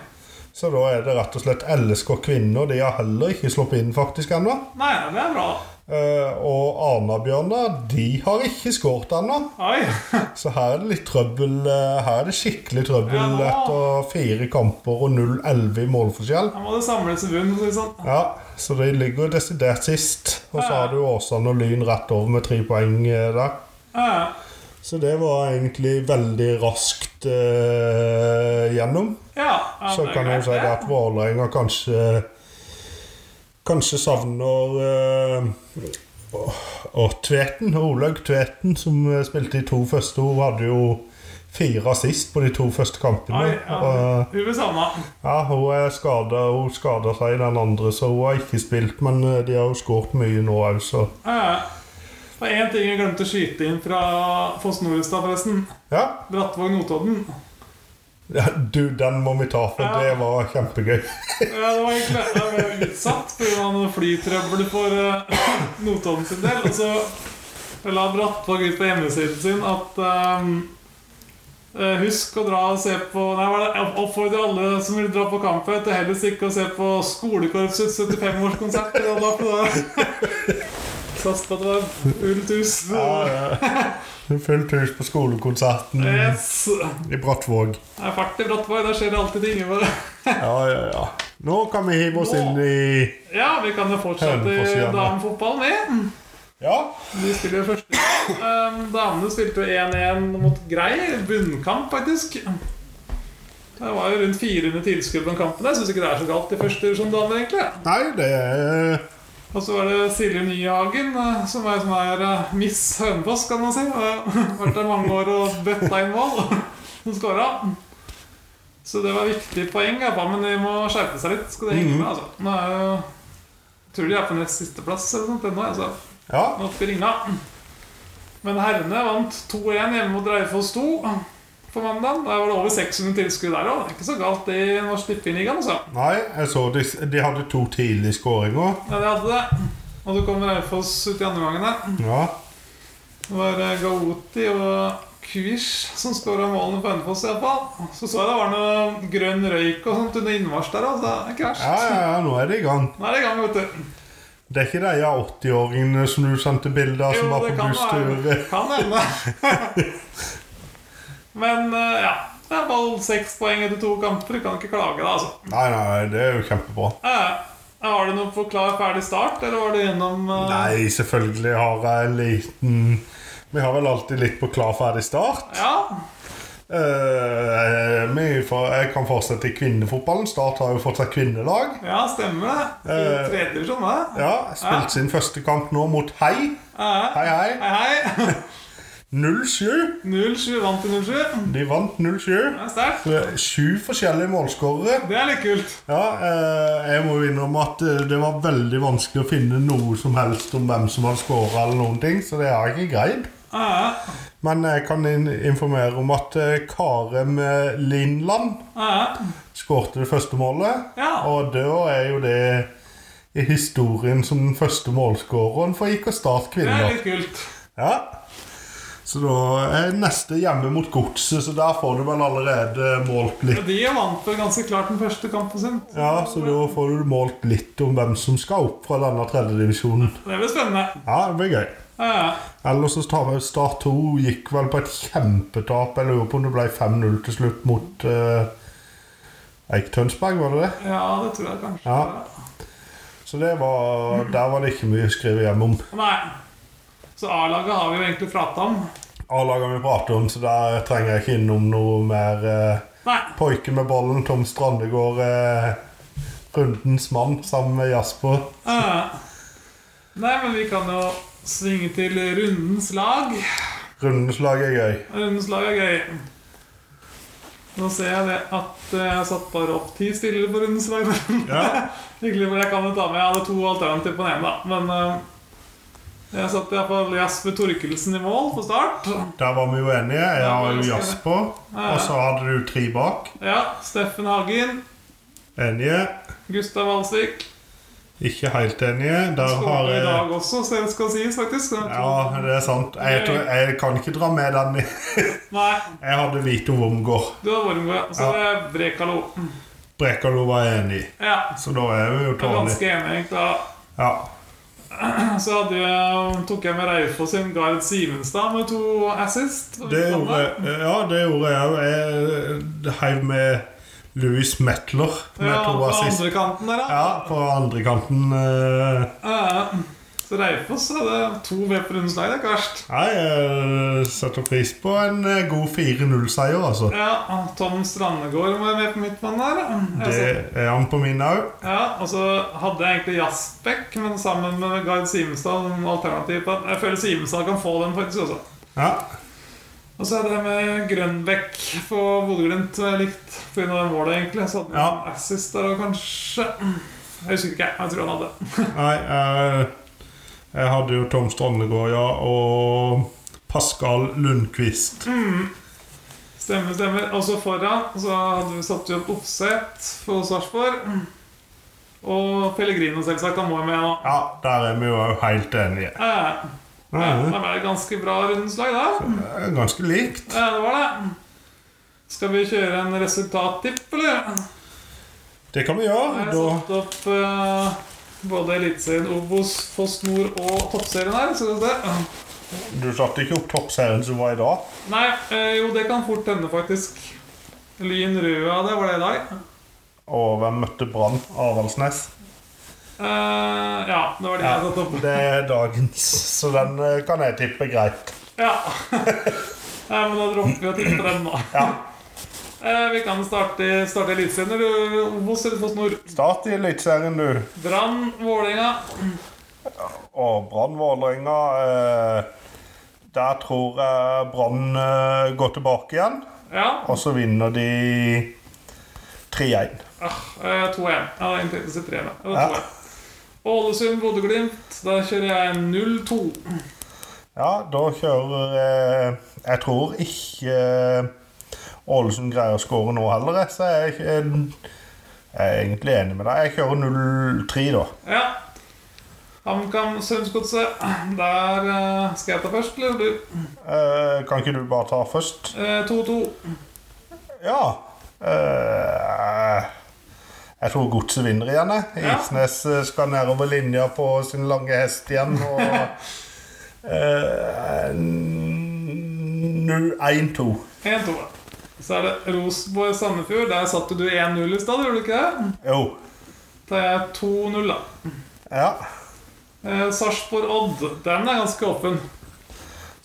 [SPEAKER 1] Så da er det rett og slett LSK kvinner. De har heller ikke sluppet inn faktisk ennå.
[SPEAKER 2] Nei, det er bra.
[SPEAKER 1] Eh, og Arna-Bjørnar, de har ikke skåret ennå.
[SPEAKER 2] Oi.
[SPEAKER 1] Så her er det litt trøbbel. eh, Her er det skikkelig trøbbel
[SPEAKER 2] Ja.
[SPEAKER 1] etter fire kamper og 0-11 i målforskjell.
[SPEAKER 2] Da må det samles i bunnen, for å si det sånn.
[SPEAKER 1] Ja, så de ligger jo desidert sist. Og så har du Åsane og Lyn rett over med tre poeng eh, der.
[SPEAKER 2] Ja, ja.
[SPEAKER 1] Så det var egentlig veldig raskt eh, gjennom.
[SPEAKER 2] Ja, ja,
[SPEAKER 1] Så
[SPEAKER 2] det er
[SPEAKER 1] kan jeg
[SPEAKER 2] greit,
[SPEAKER 1] jo si det at Vålerenga kanskje Kanskje savner eh, og Tveten, Olaug Tveten, som eh, spilte de to første, hun hadde jo fire assist på de to første kampene.
[SPEAKER 2] Oi, ja.
[SPEAKER 1] Og-
[SPEAKER 2] Hun blir savna.
[SPEAKER 1] Ja, hun er skada. Hun skada seg i den andre, så hun har ikke spilt. Men eh, de har jo skåret mye nå òg, så
[SPEAKER 2] Ja. Eh, Det var én ting jeg glemte å skyte inn fra Foss Norestad, forresten.
[SPEAKER 1] Ja.
[SPEAKER 2] Brattvåg Notodden.
[SPEAKER 1] ja. Du, den må vi ta, for
[SPEAKER 2] Ja.
[SPEAKER 1] det var kjempegøy.
[SPEAKER 2] Ja, Eh, det var egentlig jeg ble utsatt pga. noe flytrøbbel for eh, Notodden sin del. Og så la Brattvåg ut på hjemmesiden sin at eh, eh, Husk å dra og se på Nei, hva er det? Jeg oppfordrer alle som vil dra på kampen, til heller ikke å se på skolekorpsets 75-årskonsert. eller hva det var for noe. [LAUGHS] Sats på at det var fullt hus.
[SPEAKER 1] Ja, [LAUGHS] ja. Fullt hus på skolekonserten
[SPEAKER 2] Yes.
[SPEAKER 1] i Brattvåg.
[SPEAKER 2] Det er fart i Brattborg, der skjer det alltid ting. Bare.
[SPEAKER 1] Ja, ja, ja. Nå kan vi hive oss
[SPEAKER 2] Nå.
[SPEAKER 1] inn i
[SPEAKER 2] Ja, vi kan jo fortsette
[SPEAKER 1] Hønefoss igjen, da.
[SPEAKER 2] damefotball med.
[SPEAKER 1] Ja.
[SPEAKER 2] De spiller jo første. Um, damene spilte jo 1-1 mot Grei. Bunnkamp, faktisk. Det var jo rundt 400 tilskudd på den kampen. Jeg syns ikke det er så galt i første divisjon damer, egentlig.
[SPEAKER 1] Nei, det er
[SPEAKER 2] Og så var det Silje Nyhagen, eh, som er sånn her eh, Miss Hønefoss, kan man si. Hun har vært der mange år og bøtta inn mål. [LAUGHS] Hun skåra. Så det var viktige poeng, ja, men de må skjerpe seg litt. Skal det henge med, altså. Nå er jo jeg tror de er på nest sisteplass eller noe sånt ennå. Altså.
[SPEAKER 1] Ja.
[SPEAKER 2] Nå oppe i ringa. Men herrene vant 2-1 hjemme mot Reifoss 2 på mandag. Der var det over 600 tilskudd der òg. Ikke så galt det i Norsk Tippingligaen, altså.
[SPEAKER 1] Nei, jeg så de, de hadde to tidlige skåringer.
[SPEAKER 2] Ja, de hadde det. Og så kommer Reifoss ut i andre gangen der.
[SPEAKER 1] Ja.
[SPEAKER 2] Det var eh, Gaoti og Kvish som skåra målene på Hønefoss, iallfall. Så så jeg det var noe grønn røyk og sånt under innmarsj der. Altså. Det er ikke verst.
[SPEAKER 1] Ja, ja, ja, nå er det i gang.
[SPEAKER 2] Nå er det i gang, vet du.
[SPEAKER 1] Det er ikke de av 80-åringene som du sendte bilder av, som
[SPEAKER 2] Jo,
[SPEAKER 1] var
[SPEAKER 2] det
[SPEAKER 1] på
[SPEAKER 2] kan være.
[SPEAKER 1] busstur.
[SPEAKER 2] Kan hende. [LAUGHS] Men eh, ja. Det er bare seks poeng etter to kamper. Du kan ikke klage, da, altså.
[SPEAKER 1] Nei, nei, det er jo kjempebra.
[SPEAKER 2] Eh, Har du noe på klar, ferdig start, eller var du gjennom eh,
[SPEAKER 1] Nei, selvfølgelig har jeg en liten Vi har vel alltid litt på klar, ferdig start.
[SPEAKER 2] Ja.
[SPEAKER 1] Eh, vi får, jeg kan fortsette i kvinnefotballen. Start har jo fått seg kvinnelag.
[SPEAKER 2] ja, stemmer det.
[SPEAKER 1] Eh.
[SPEAKER 2] Tredje divisjon, det.
[SPEAKER 1] Ja, Spilt sin første kamp nå mot Hei.
[SPEAKER 2] Eh,
[SPEAKER 1] Hei, hei.
[SPEAKER 2] Hei, hei. [LAUGHS]
[SPEAKER 1] 0-7.
[SPEAKER 2] 0-7 vant til 0-7.
[SPEAKER 1] De vant 0-7.
[SPEAKER 2] Det er sterkt.
[SPEAKER 1] Sju forskjellige målskårere.
[SPEAKER 2] Det er litt kult.
[SPEAKER 1] Ja, eh, jeg må jo innrømme at eh, det var veldig vanskelig å finne noe som helst om hvem som hadde skåra, eller noen ting, så det har jeg ikke greid.
[SPEAKER 2] Eh,
[SPEAKER 1] Men jeg kan in informere om at eh, Karem eh, Lindland
[SPEAKER 2] eh,
[SPEAKER 1] skårte det første målet.
[SPEAKER 2] Ja.
[SPEAKER 1] Og da er jo det i historien som den første målskåreren for IK Start
[SPEAKER 2] Det er
[SPEAKER 1] kvinner.
[SPEAKER 2] litt kult.
[SPEAKER 1] Ja. Så da er neste hjemme mot Godset, så der får du vel allerede målt litt.
[SPEAKER 2] Ja, De vant vel ganske klart den første kampen sin.
[SPEAKER 1] Ja, så da får du målt litt om hvem som skal opp fra denne tredjedivisjonen.
[SPEAKER 2] Det blir spennende.
[SPEAKER 1] Ja, det blir gøy.
[SPEAKER 2] Eh,
[SPEAKER 1] Ellers så tar vi Start 2 gikk vel på et kjempetap. Jeg lurer på om det ble 5-0 til slutt mot eh, Eik Tønsberg, var det det?
[SPEAKER 2] Ja, det tror jeg kanskje.
[SPEAKER 1] Ja. Så det var, der var det ikke mye å skrive hjem om.
[SPEAKER 2] Nei. Så A-laget har vi jo egentlig prata om.
[SPEAKER 1] A-lagene vi prater om, så der trenger jeg ikke innom noe mer. eh,
[SPEAKER 2] Nei.
[SPEAKER 1] Poiken med ballen, Tom Strandegård, eh, rundens mann sammen med Jasper.
[SPEAKER 2] Eh, Nei, men vi kan jo svinge til rundens lag.
[SPEAKER 1] Rundens lag er gøy.
[SPEAKER 2] Rundens lag er gøy. Nå ser jeg det at eh, jeg satt bare opp ti stillere på rundens lag.
[SPEAKER 1] Ja.
[SPEAKER 2] Hyggelig, men jeg kan jo ta med. Jeg hadde to alternativ på den ene, da. Men eh, jeg satt iallfall Jasper Torkelsen i mål på start.
[SPEAKER 1] Der var vi jo enige. Jeg har jo Jasper, og så hadde du tre bak.
[SPEAKER 2] Ja, Steffen Hagen.
[SPEAKER 1] Enige.
[SPEAKER 2] Gustav Alsvik.
[SPEAKER 1] Ikke helt enige. Der har
[SPEAKER 2] Skåret i
[SPEAKER 1] jeg
[SPEAKER 2] dag også, så det skal sies, faktisk. Så-
[SPEAKER 1] Ja, det er sant. Jeg, tror, jeg kan ikke dra med den.
[SPEAKER 2] Nei,
[SPEAKER 1] Jeg hadde Vito Wormgård.
[SPEAKER 2] du har Wormgård, ja. Så det er Brekalo.
[SPEAKER 1] Brekalo var enig,
[SPEAKER 2] Ja.
[SPEAKER 1] så da er vi jo
[SPEAKER 2] Jeg er
[SPEAKER 1] tålige.
[SPEAKER 2] ganske enig, egentlig. da.
[SPEAKER 1] Ja.
[SPEAKER 2] Så hadde jeg, eh, tok jeg med Raufoss sin Gard Simenstad med to assist.
[SPEAKER 1] Det gjorde, ja, det gjorde jeg òg. Jeg eh, heiv med Louis Metler med
[SPEAKER 2] ja,
[SPEAKER 1] to
[SPEAKER 2] på
[SPEAKER 1] assist.
[SPEAKER 2] andre kanten der, da.
[SPEAKER 1] Ja, på eh, andrekanten.
[SPEAKER 2] Ja. Så Raufoss hadde to V på rundslag. Det er ikke verst.
[SPEAKER 1] Nei, jeg setter pris på en eh, god 4-0-seier, altså.
[SPEAKER 2] Ja, Tom Strandegård var med på midtbanen der.
[SPEAKER 1] Det
[SPEAKER 2] Jeg
[SPEAKER 1] er han på min òg.
[SPEAKER 2] så- Ja, og så hadde jeg egentlig Jasbekk, men sammen med Gard Simenstad som alternativ. på at Jeg føler Simenstad kan få den faktisk også.
[SPEAKER 1] Ja.
[SPEAKER 2] Og så hadde jeg med Grønbekk på Bodø-Glimt, som jeg likte pga. det målet, egentlig. Så hadde han
[SPEAKER 1] Ja.
[SPEAKER 2] en assist der òg, kanskje. Jeg husker ikke, jeg tror han hadde.
[SPEAKER 1] Nei, eh, jeg hadde jo Tom Strandegård, ja, og Pascal Lundqvist.
[SPEAKER 2] [LAUGHS] Mm. Stemmer, stemmer. Og så foran så hadde vi satt vi opp Opseth for Sarpsborg. Og Pellegrino, selvsagt. Han må jo med nå.
[SPEAKER 1] Ja, der er vi jo helt enige.
[SPEAKER 2] Eh, ja,
[SPEAKER 1] Ja,
[SPEAKER 2] det var et ganske bra rundeslag, da.
[SPEAKER 1] det er Ganske likt.
[SPEAKER 2] Ja, det var det. Skal vi kjøre en resultattipp, eller?
[SPEAKER 1] Det kan vi
[SPEAKER 2] Jeg
[SPEAKER 1] gjøre.
[SPEAKER 2] har
[SPEAKER 1] Da
[SPEAKER 2] satt opp eh, både Eliteserien, Obos, Foss Nord og Toppserien her. Så det
[SPEAKER 1] Du satte ikke opp toppserien som var i dag.
[SPEAKER 2] Nei, eh, jo, det kan fort hende, faktisk. Lyn Røa, det var det i dag.
[SPEAKER 1] Og hvem møtte Brann? Avaldsnes.
[SPEAKER 2] Eh, ja, det var det jeg satte opp.
[SPEAKER 1] Det er dagens, så den eh, kan jeg tippe greit.
[SPEAKER 2] Ja. [LAUGHS] Nei, men da dropper vi å tippe den, da.
[SPEAKER 1] Ja.
[SPEAKER 2] Eh, vi kan starte, starte Eliteserien, eller Obos eller Foss Nord.
[SPEAKER 1] Start i Eliteserien, du.
[SPEAKER 2] Brann, Vålerenga.
[SPEAKER 1] Og Brann Vålerenga eh, Der tror jeg Brann eh, går tilbake igjen.
[SPEAKER 2] Ja.
[SPEAKER 1] Og så vinner de 3-1.
[SPEAKER 2] Ah, eh, 2-1. Ja, det er egentlig ikke så 3 da. Det
[SPEAKER 1] Ja.
[SPEAKER 2] var 2-1. Ålesund, Bodø-Glimt. Da kjører jeg 0-2.
[SPEAKER 1] Ja, da kjører eh, Jeg tror ikke eh, Ålesund greier å skåre nå heller, jeg, så jeg, jeg, jeg er egentlig enig med deg. Jeg kjører 0-3, da.
[SPEAKER 2] Ja. HamKam Strømsgodset. Der eh, skal jeg ta først, eller du?
[SPEAKER 1] Eh, kan ikke du bare ta først?
[SPEAKER 2] Eh, 2-2.
[SPEAKER 1] Ja. Eh, jeg tror godset vinner igjen. jeg.
[SPEAKER 2] Ja.
[SPEAKER 1] Isnes eh, skal nedover linja på sin lange hest igjen. Og eh, Nå 1-2.
[SPEAKER 2] 1-2. Så er det Rosenborg-Sandefjord. Der satte du 1-0 i stad, gjorde du ikke det?
[SPEAKER 1] Jo.
[SPEAKER 2] Da er jeg 2-0, da.
[SPEAKER 1] Ja.
[SPEAKER 2] Eh, Sarpsborg-Odd. Den er ganske åpen.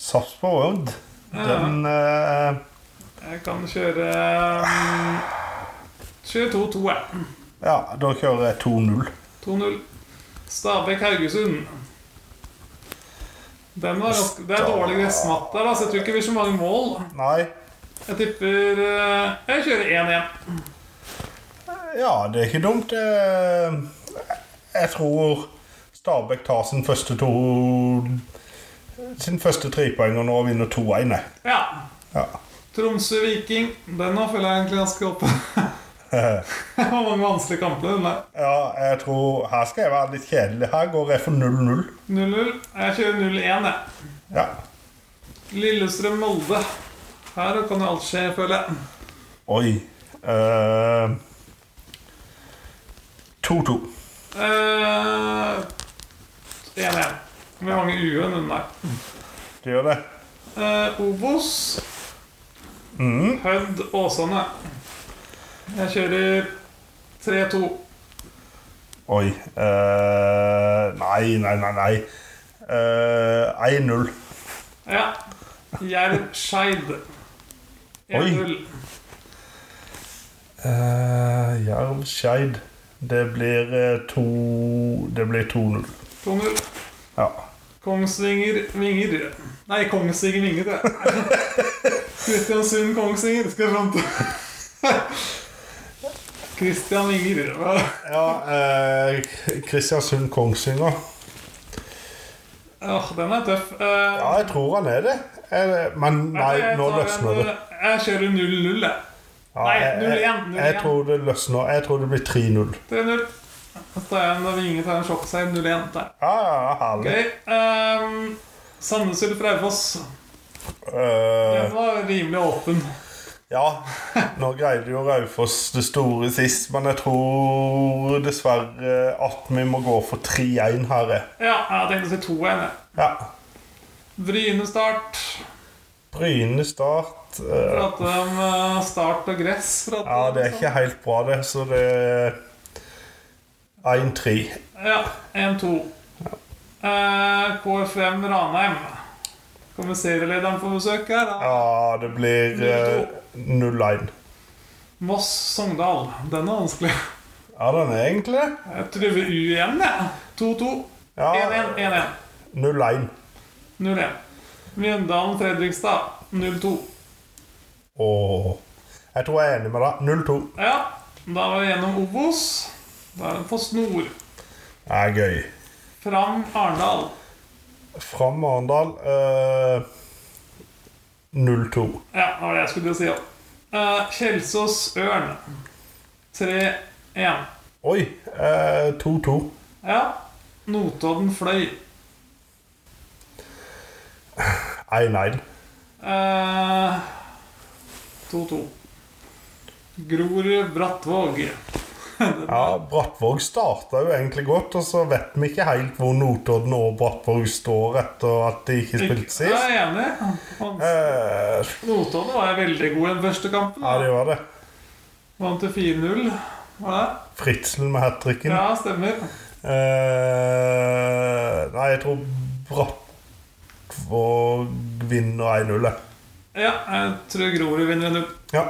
[SPEAKER 1] Sarpsborg Odd.
[SPEAKER 2] Eh,
[SPEAKER 1] Den eh,
[SPEAKER 2] jeg kan kjøre um, Kjøre 2-2, jeg.
[SPEAKER 1] Ja, da kjører jeg 2-0.
[SPEAKER 2] 2-0. Stabæk-Haugesund. Den var ganske, det er dårlig gressmatt der, da, så jeg tror ikke det blir så mange mål.
[SPEAKER 1] Nei.
[SPEAKER 2] Jeg tipper eh, Jeg kjører 1-1.
[SPEAKER 1] Ja, det er ikke dumt. Eh, Jeg tror Stabæk tar sin første to Sin første trepoenger nå og vinner 2-1. jeg.
[SPEAKER 2] Ja.
[SPEAKER 1] Ja.
[SPEAKER 2] Tromsø-Viking. Den nå føler jeg egentlig ganske åpen. Det var mange vanskelige kamper. den der.
[SPEAKER 1] ja, jeg tror Her skal jeg være litt kjedelig. Her går jeg for 0-0.
[SPEAKER 2] 0-0. Jeg kjører 0-1, jeg.
[SPEAKER 1] Ja.
[SPEAKER 2] Lillestrøm-Molde. Her kan jo alt skje, føler jeg.
[SPEAKER 1] Oi. Eh, 2-2.
[SPEAKER 2] Eh, 1-1. Med mange u-en under der.
[SPEAKER 1] det gjør det.
[SPEAKER 2] Eh, Obos.
[SPEAKER 1] Mm.
[SPEAKER 2] Hødd Åsane. Jeg kjører 3-2.
[SPEAKER 1] Oi. Eh, nei, nei, nei. nei. Eh, 1-0.
[SPEAKER 2] Ja. Jerv Skeid. 1-0.
[SPEAKER 1] Uh, Jerv Skeid. Det blir eh, to Det blir 2-0.
[SPEAKER 2] 2-0.
[SPEAKER 1] Ja.
[SPEAKER 2] Kongsvinger Vinger. Nei, Kongsvinger Vinger, det.
[SPEAKER 1] [LAUGHS]
[SPEAKER 2] Kristiansund Kongsvinger, skal jeg fram til. Kristian Vinger. hva?
[SPEAKER 1] ja eh, Kristiansund Kongsvinger.
[SPEAKER 2] Åh, den er tøff. Eh,
[SPEAKER 1] Ja, jeg tror han er det. Eh, Men nei,
[SPEAKER 2] jeg
[SPEAKER 1] nå
[SPEAKER 2] tar en,
[SPEAKER 1] løsner det.
[SPEAKER 2] eh, Jeg kjører 0-0, jeg.
[SPEAKER 1] Ja,
[SPEAKER 2] nei,
[SPEAKER 1] jeg,
[SPEAKER 2] 0-1,
[SPEAKER 1] jeg,
[SPEAKER 2] 0-1.
[SPEAKER 1] jeg tror det løsner. Jeg tror det blir 3-0.
[SPEAKER 2] 3-0. Så tar jeg en Vinge tar en sjokkseier 0-1 der.
[SPEAKER 1] Ja, ja, ja, herlig.
[SPEAKER 2] Okay. Um, Sandnes eller Raufoss.
[SPEAKER 1] Eh,
[SPEAKER 2] Den var rimelig åpen.
[SPEAKER 1] ja. Nå greide jo Raufoss det store sist, men jeg tror dessverre at vi må gå for 3-1 her. jeg.
[SPEAKER 2] Ja, jeg tenkte å si 2-1. jeg.
[SPEAKER 1] Ja.
[SPEAKER 2] Bryne start.
[SPEAKER 1] Bryne start. eh,
[SPEAKER 2] Prate om eh, start og gress. prate
[SPEAKER 1] Ja,
[SPEAKER 2] om
[SPEAKER 1] det er
[SPEAKER 2] sånn.
[SPEAKER 1] ikke helt bra, det. Så det er 1-3.
[SPEAKER 2] Ja, 1-2. Eh, K5 Ranheim. Kommer serielederen på besøk her? da?
[SPEAKER 1] Ja, det blir eh, 0-1.
[SPEAKER 2] Moss Sogndal. Den er vanskelig.
[SPEAKER 1] Ja, den er egentlig det.
[SPEAKER 2] Jeg truver U igjen, jeg. 2-2.
[SPEAKER 1] Ja,
[SPEAKER 2] 1-1. 1-1.
[SPEAKER 1] 0-1.
[SPEAKER 2] 0-1. Mjøndalen Fredrikstad. 0-2.
[SPEAKER 1] Åh. Jeg tror jeg er enig med deg. 0-2.
[SPEAKER 2] Ja, da var vi gjennom Obos. Da er den på snor.
[SPEAKER 1] Det er gøy.
[SPEAKER 2] Fram Arendal.
[SPEAKER 1] Fram Arendal eh, 0-2.
[SPEAKER 2] Ja, det var det jeg skulle si òg. Kjelsås Ørn. 3-1.
[SPEAKER 1] Oi. eh, 2-2.
[SPEAKER 2] Ja. Notodden fløy.
[SPEAKER 1] 1-1.
[SPEAKER 2] Eh, 2-2. Grorud Brattvåg.
[SPEAKER 1] Ja, Brattvåg starta jo egentlig godt, og så vet vi ikke helt hvor Notodden og Brattvåg står etter at de ikke spilte
[SPEAKER 2] Jeg
[SPEAKER 1] sist.
[SPEAKER 2] er enig. Han-
[SPEAKER 1] Eh,
[SPEAKER 2] Notodden var jeg veldig god i den første kampen.
[SPEAKER 1] ja,
[SPEAKER 2] da.
[SPEAKER 1] det var det.
[SPEAKER 2] Vant til 4-0. Var
[SPEAKER 1] Fritzl med hat
[SPEAKER 2] det?
[SPEAKER 1] tricken.
[SPEAKER 2] Ja, stemmer.
[SPEAKER 1] Eh, nei, jeg tror Brattvåg vinner 1-0. jeg.
[SPEAKER 2] Ja, jeg tror Grorud vinner 1-0.
[SPEAKER 1] Ja.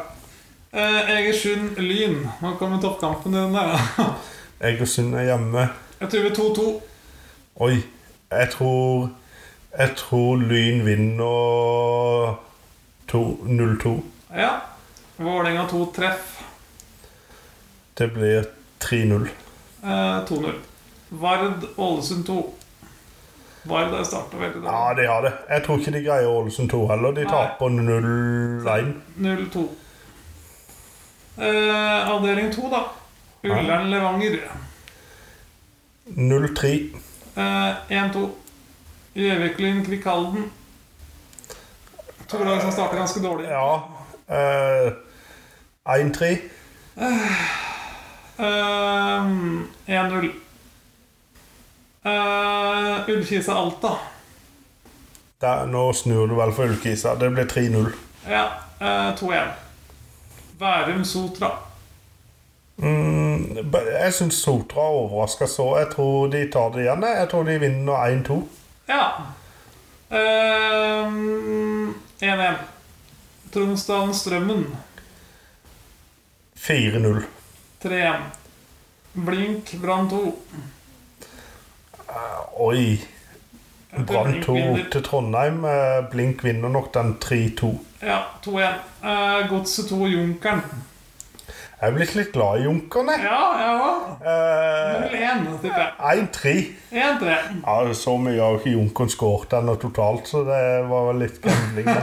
[SPEAKER 2] Eh, Egersund Lyn. Nå kommer toppkampen i den der. da. [LAUGHS]
[SPEAKER 1] Egersund er hjemme.
[SPEAKER 2] Jeg tror vi 2-2.
[SPEAKER 1] Oi, jeg tror Jeg tror Lyn vinner to- 0-2.
[SPEAKER 2] Ja. Vålerenga 2 treff.
[SPEAKER 1] Det blir 3-0.
[SPEAKER 2] Eh, 2-0. Vard Ålesund 2. Vard har starta veldig
[SPEAKER 1] Ja,
[SPEAKER 2] dårlig.
[SPEAKER 1] de har det. Jeg tror ikke de greier Ålesund 2 heller. De
[SPEAKER 2] Nei.
[SPEAKER 1] taper 0-1.
[SPEAKER 2] 0-2. Eh, avdeling 2, da. Ullern Levanger.
[SPEAKER 1] 0-3.
[SPEAKER 2] Eh, 1-2. Gjøviklyn Kvikalden. To lag som starter ganske dårlig.
[SPEAKER 1] Ja. eh, 1-3.
[SPEAKER 2] Ehm, 1-0. Uh, Ullkisa Alta.
[SPEAKER 1] Der- Nå snur du vel for Ullkisa. Det blir 3-0.
[SPEAKER 2] Ja, eh, 2-1. Værum Sotra.
[SPEAKER 1] Mm, b- jeg syns Sotra overrasker så. Jeg tror de tar det igjen. jeg. Jeg tror de vinner 1-2.
[SPEAKER 2] Ja. Ehm, 1-1. Tromsdalen Strømmen.
[SPEAKER 1] 4-0.
[SPEAKER 2] 3-1. Blink Brann 2.
[SPEAKER 1] Oi.
[SPEAKER 2] Jeg tror
[SPEAKER 1] Brann
[SPEAKER 2] Blink
[SPEAKER 1] 2
[SPEAKER 2] vinner.
[SPEAKER 1] til Trondheim. Eh, Blink vinner nok den 3-2.
[SPEAKER 2] Ja, 2-1. Eh, Godset 2 Junkeren.
[SPEAKER 1] Jeg er blitt litt glad i Junkerne.
[SPEAKER 2] Ja, jeg òg.
[SPEAKER 1] Eh,
[SPEAKER 2] 0-1, tipper jeg.
[SPEAKER 1] 1-3.
[SPEAKER 2] 1-3.
[SPEAKER 1] Ja, så mye har jo ikke Junkeren skåret ennå totalt, så det var vel litt gambling. Men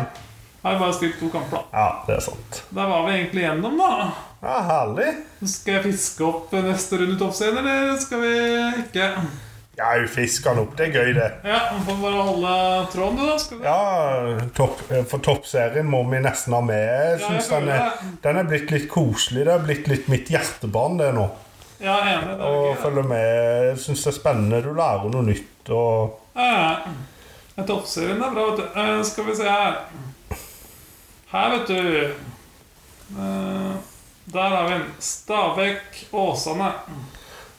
[SPEAKER 2] Har jo bare spilt to kamper, da.
[SPEAKER 1] ja, det er sant.
[SPEAKER 2] Der var vi egentlig gjennom, da.
[SPEAKER 1] Ja, Herlig.
[SPEAKER 2] Skal jeg fiske opp neste runde toppscene, eller skal vi ikke?
[SPEAKER 1] Ja, vi fisker den opp. Det er gøy, det.
[SPEAKER 2] Ja, Vi får bare holde tråden, du, da. Skal vi?
[SPEAKER 1] Ja, topp, for toppserien må vi nesten ha med. Jeg
[SPEAKER 2] Ja, jeg
[SPEAKER 1] synes
[SPEAKER 2] føler
[SPEAKER 1] den, er,
[SPEAKER 2] det.
[SPEAKER 1] den er blitt litt koselig. Det er blitt litt mitt hjertebarn, det nå.
[SPEAKER 2] Ja, enig. Det
[SPEAKER 1] Og
[SPEAKER 2] er gøy.
[SPEAKER 1] følge med. Jeg synes det er spennende. Du lærer noe nytt. Og
[SPEAKER 2] Ja. Ja, Toppserien er bra, vet du. Eh, skal vi se her. Her, vet du. Eh, der har vi den. Stabæk, Åsane.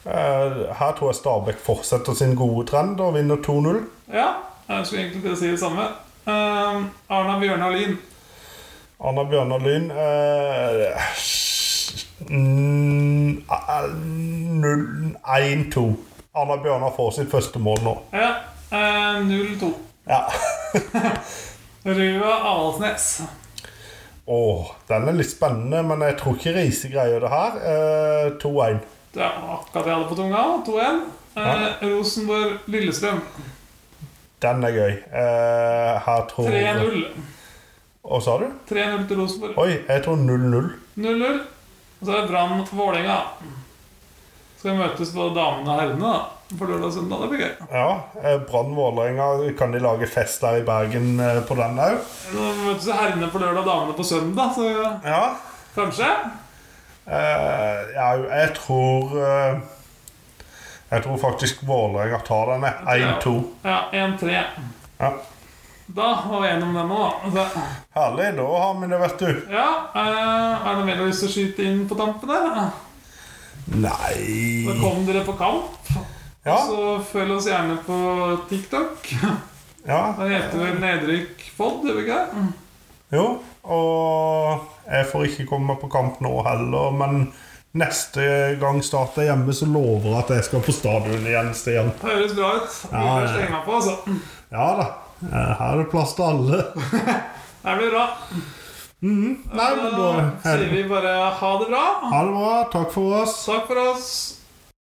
[SPEAKER 1] eh, her tror jeg Stabæk fortsetter sin gode trend og vinner 2-0.
[SPEAKER 2] Ja, jeg skulle egentlig til å si det samme. Eh, Arna Bjørnar Lien.
[SPEAKER 1] Anna Bjørnar Lyn eh, mm, eh, 0-1-2. Anna Bjørnar får sitt første mål nå.
[SPEAKER 2] Ja. Eh, 0-2.
[SPEAKER 1] Ja.
[SPEAKER 2] Rua Avaldsnes.
[SPEAKER 1] Åh, den er litt spennende, men jeg tror ikke Riise greier det her. Eh, 2-1.
[SPEAKER 2] Det er akkurat det jeg hadde på tunga. 2-1. Eh, Rosenborg-Lillestrøm.
[SPEAKER 1] Den er gøy. Eh, her tror
[SPEAKER 2] 3-0.
[SPEAKER 1] Hva sa du?
[SPEAKER 2] 3-0 til Rosenborg.
[SPEAKER 1] Oi, jeg tror 0-0.
[SPEAKER 2] 0-0. Og så er det Brann-Vålerenga. Skal vi møtes både damene og herrene da på lørdag og søndag. Det blir gøy.
[SPEAKER 1] Ja. Eh, Brann Vålerenga, kan de lage fest der i Bergen eh, på den òg?
[SPEAKER 2] Nå møtes jo herrene på lørdag og damene på søndag, så
[SPEAKER 1] Ja.
[SPEAKER 2] kanskje.
[SPEAKER 1] Eh, ja. Jeg tror eh, Jeg tror faktisk Vålerenga tar denne. 1-2.
[SPEAKER 2] Ja, 1-3.
[SPEAKER 1] Ja.
[SPEAKER 2] Da var vi gjennom den nå, da. Så,
[SPEAKER 1] Herlig. Da har vi det, vet du.
[SPEAKER 2] ja, eh, er det mer du har lyst til å skyte inn på tampen der? Da
[SPEAKER 1] Nei
[SPEAKER 2] kom dere på kamp.
[SPEAKER 1] Ja.
[SPEAKER 2] Så følg oss gjerne på TikTok.
[SPEAKER 1] ja.
[SPEAKER 2] Den heter vel Nedrykk Pod, gjør vi ikke det?
[SPEAKER 1] Jo, og jeg får ikke komme på kamp nå heller, men neste gang Start er hjemme, så lover jeg at jeg skal på stadion igjen, Stian.
[SPEAKER 2] Høres bra ut. Vi
[SPEAKER 3] Ja,
[SPEAKER 2] får
[SPEAKER 3] ja.
[SPEAKER 2] slenge på, altså.
[SPEAKER 1] Ja da. eh, Her er det plass til alle.
[SPEAKER 2] Det blir bra.
[SPEAKER 3] Nei, men da
[SPEAKER 2] Da
[SPEAKER 3] er
[SPEAKER 2] sier
[SPEAKER 3] det
[SPEAKER 2] vi bare ha det bra.
[SPEAKER 3] Ha det bra. Takk for oss.
[SPEAKER 2] Takk for oss.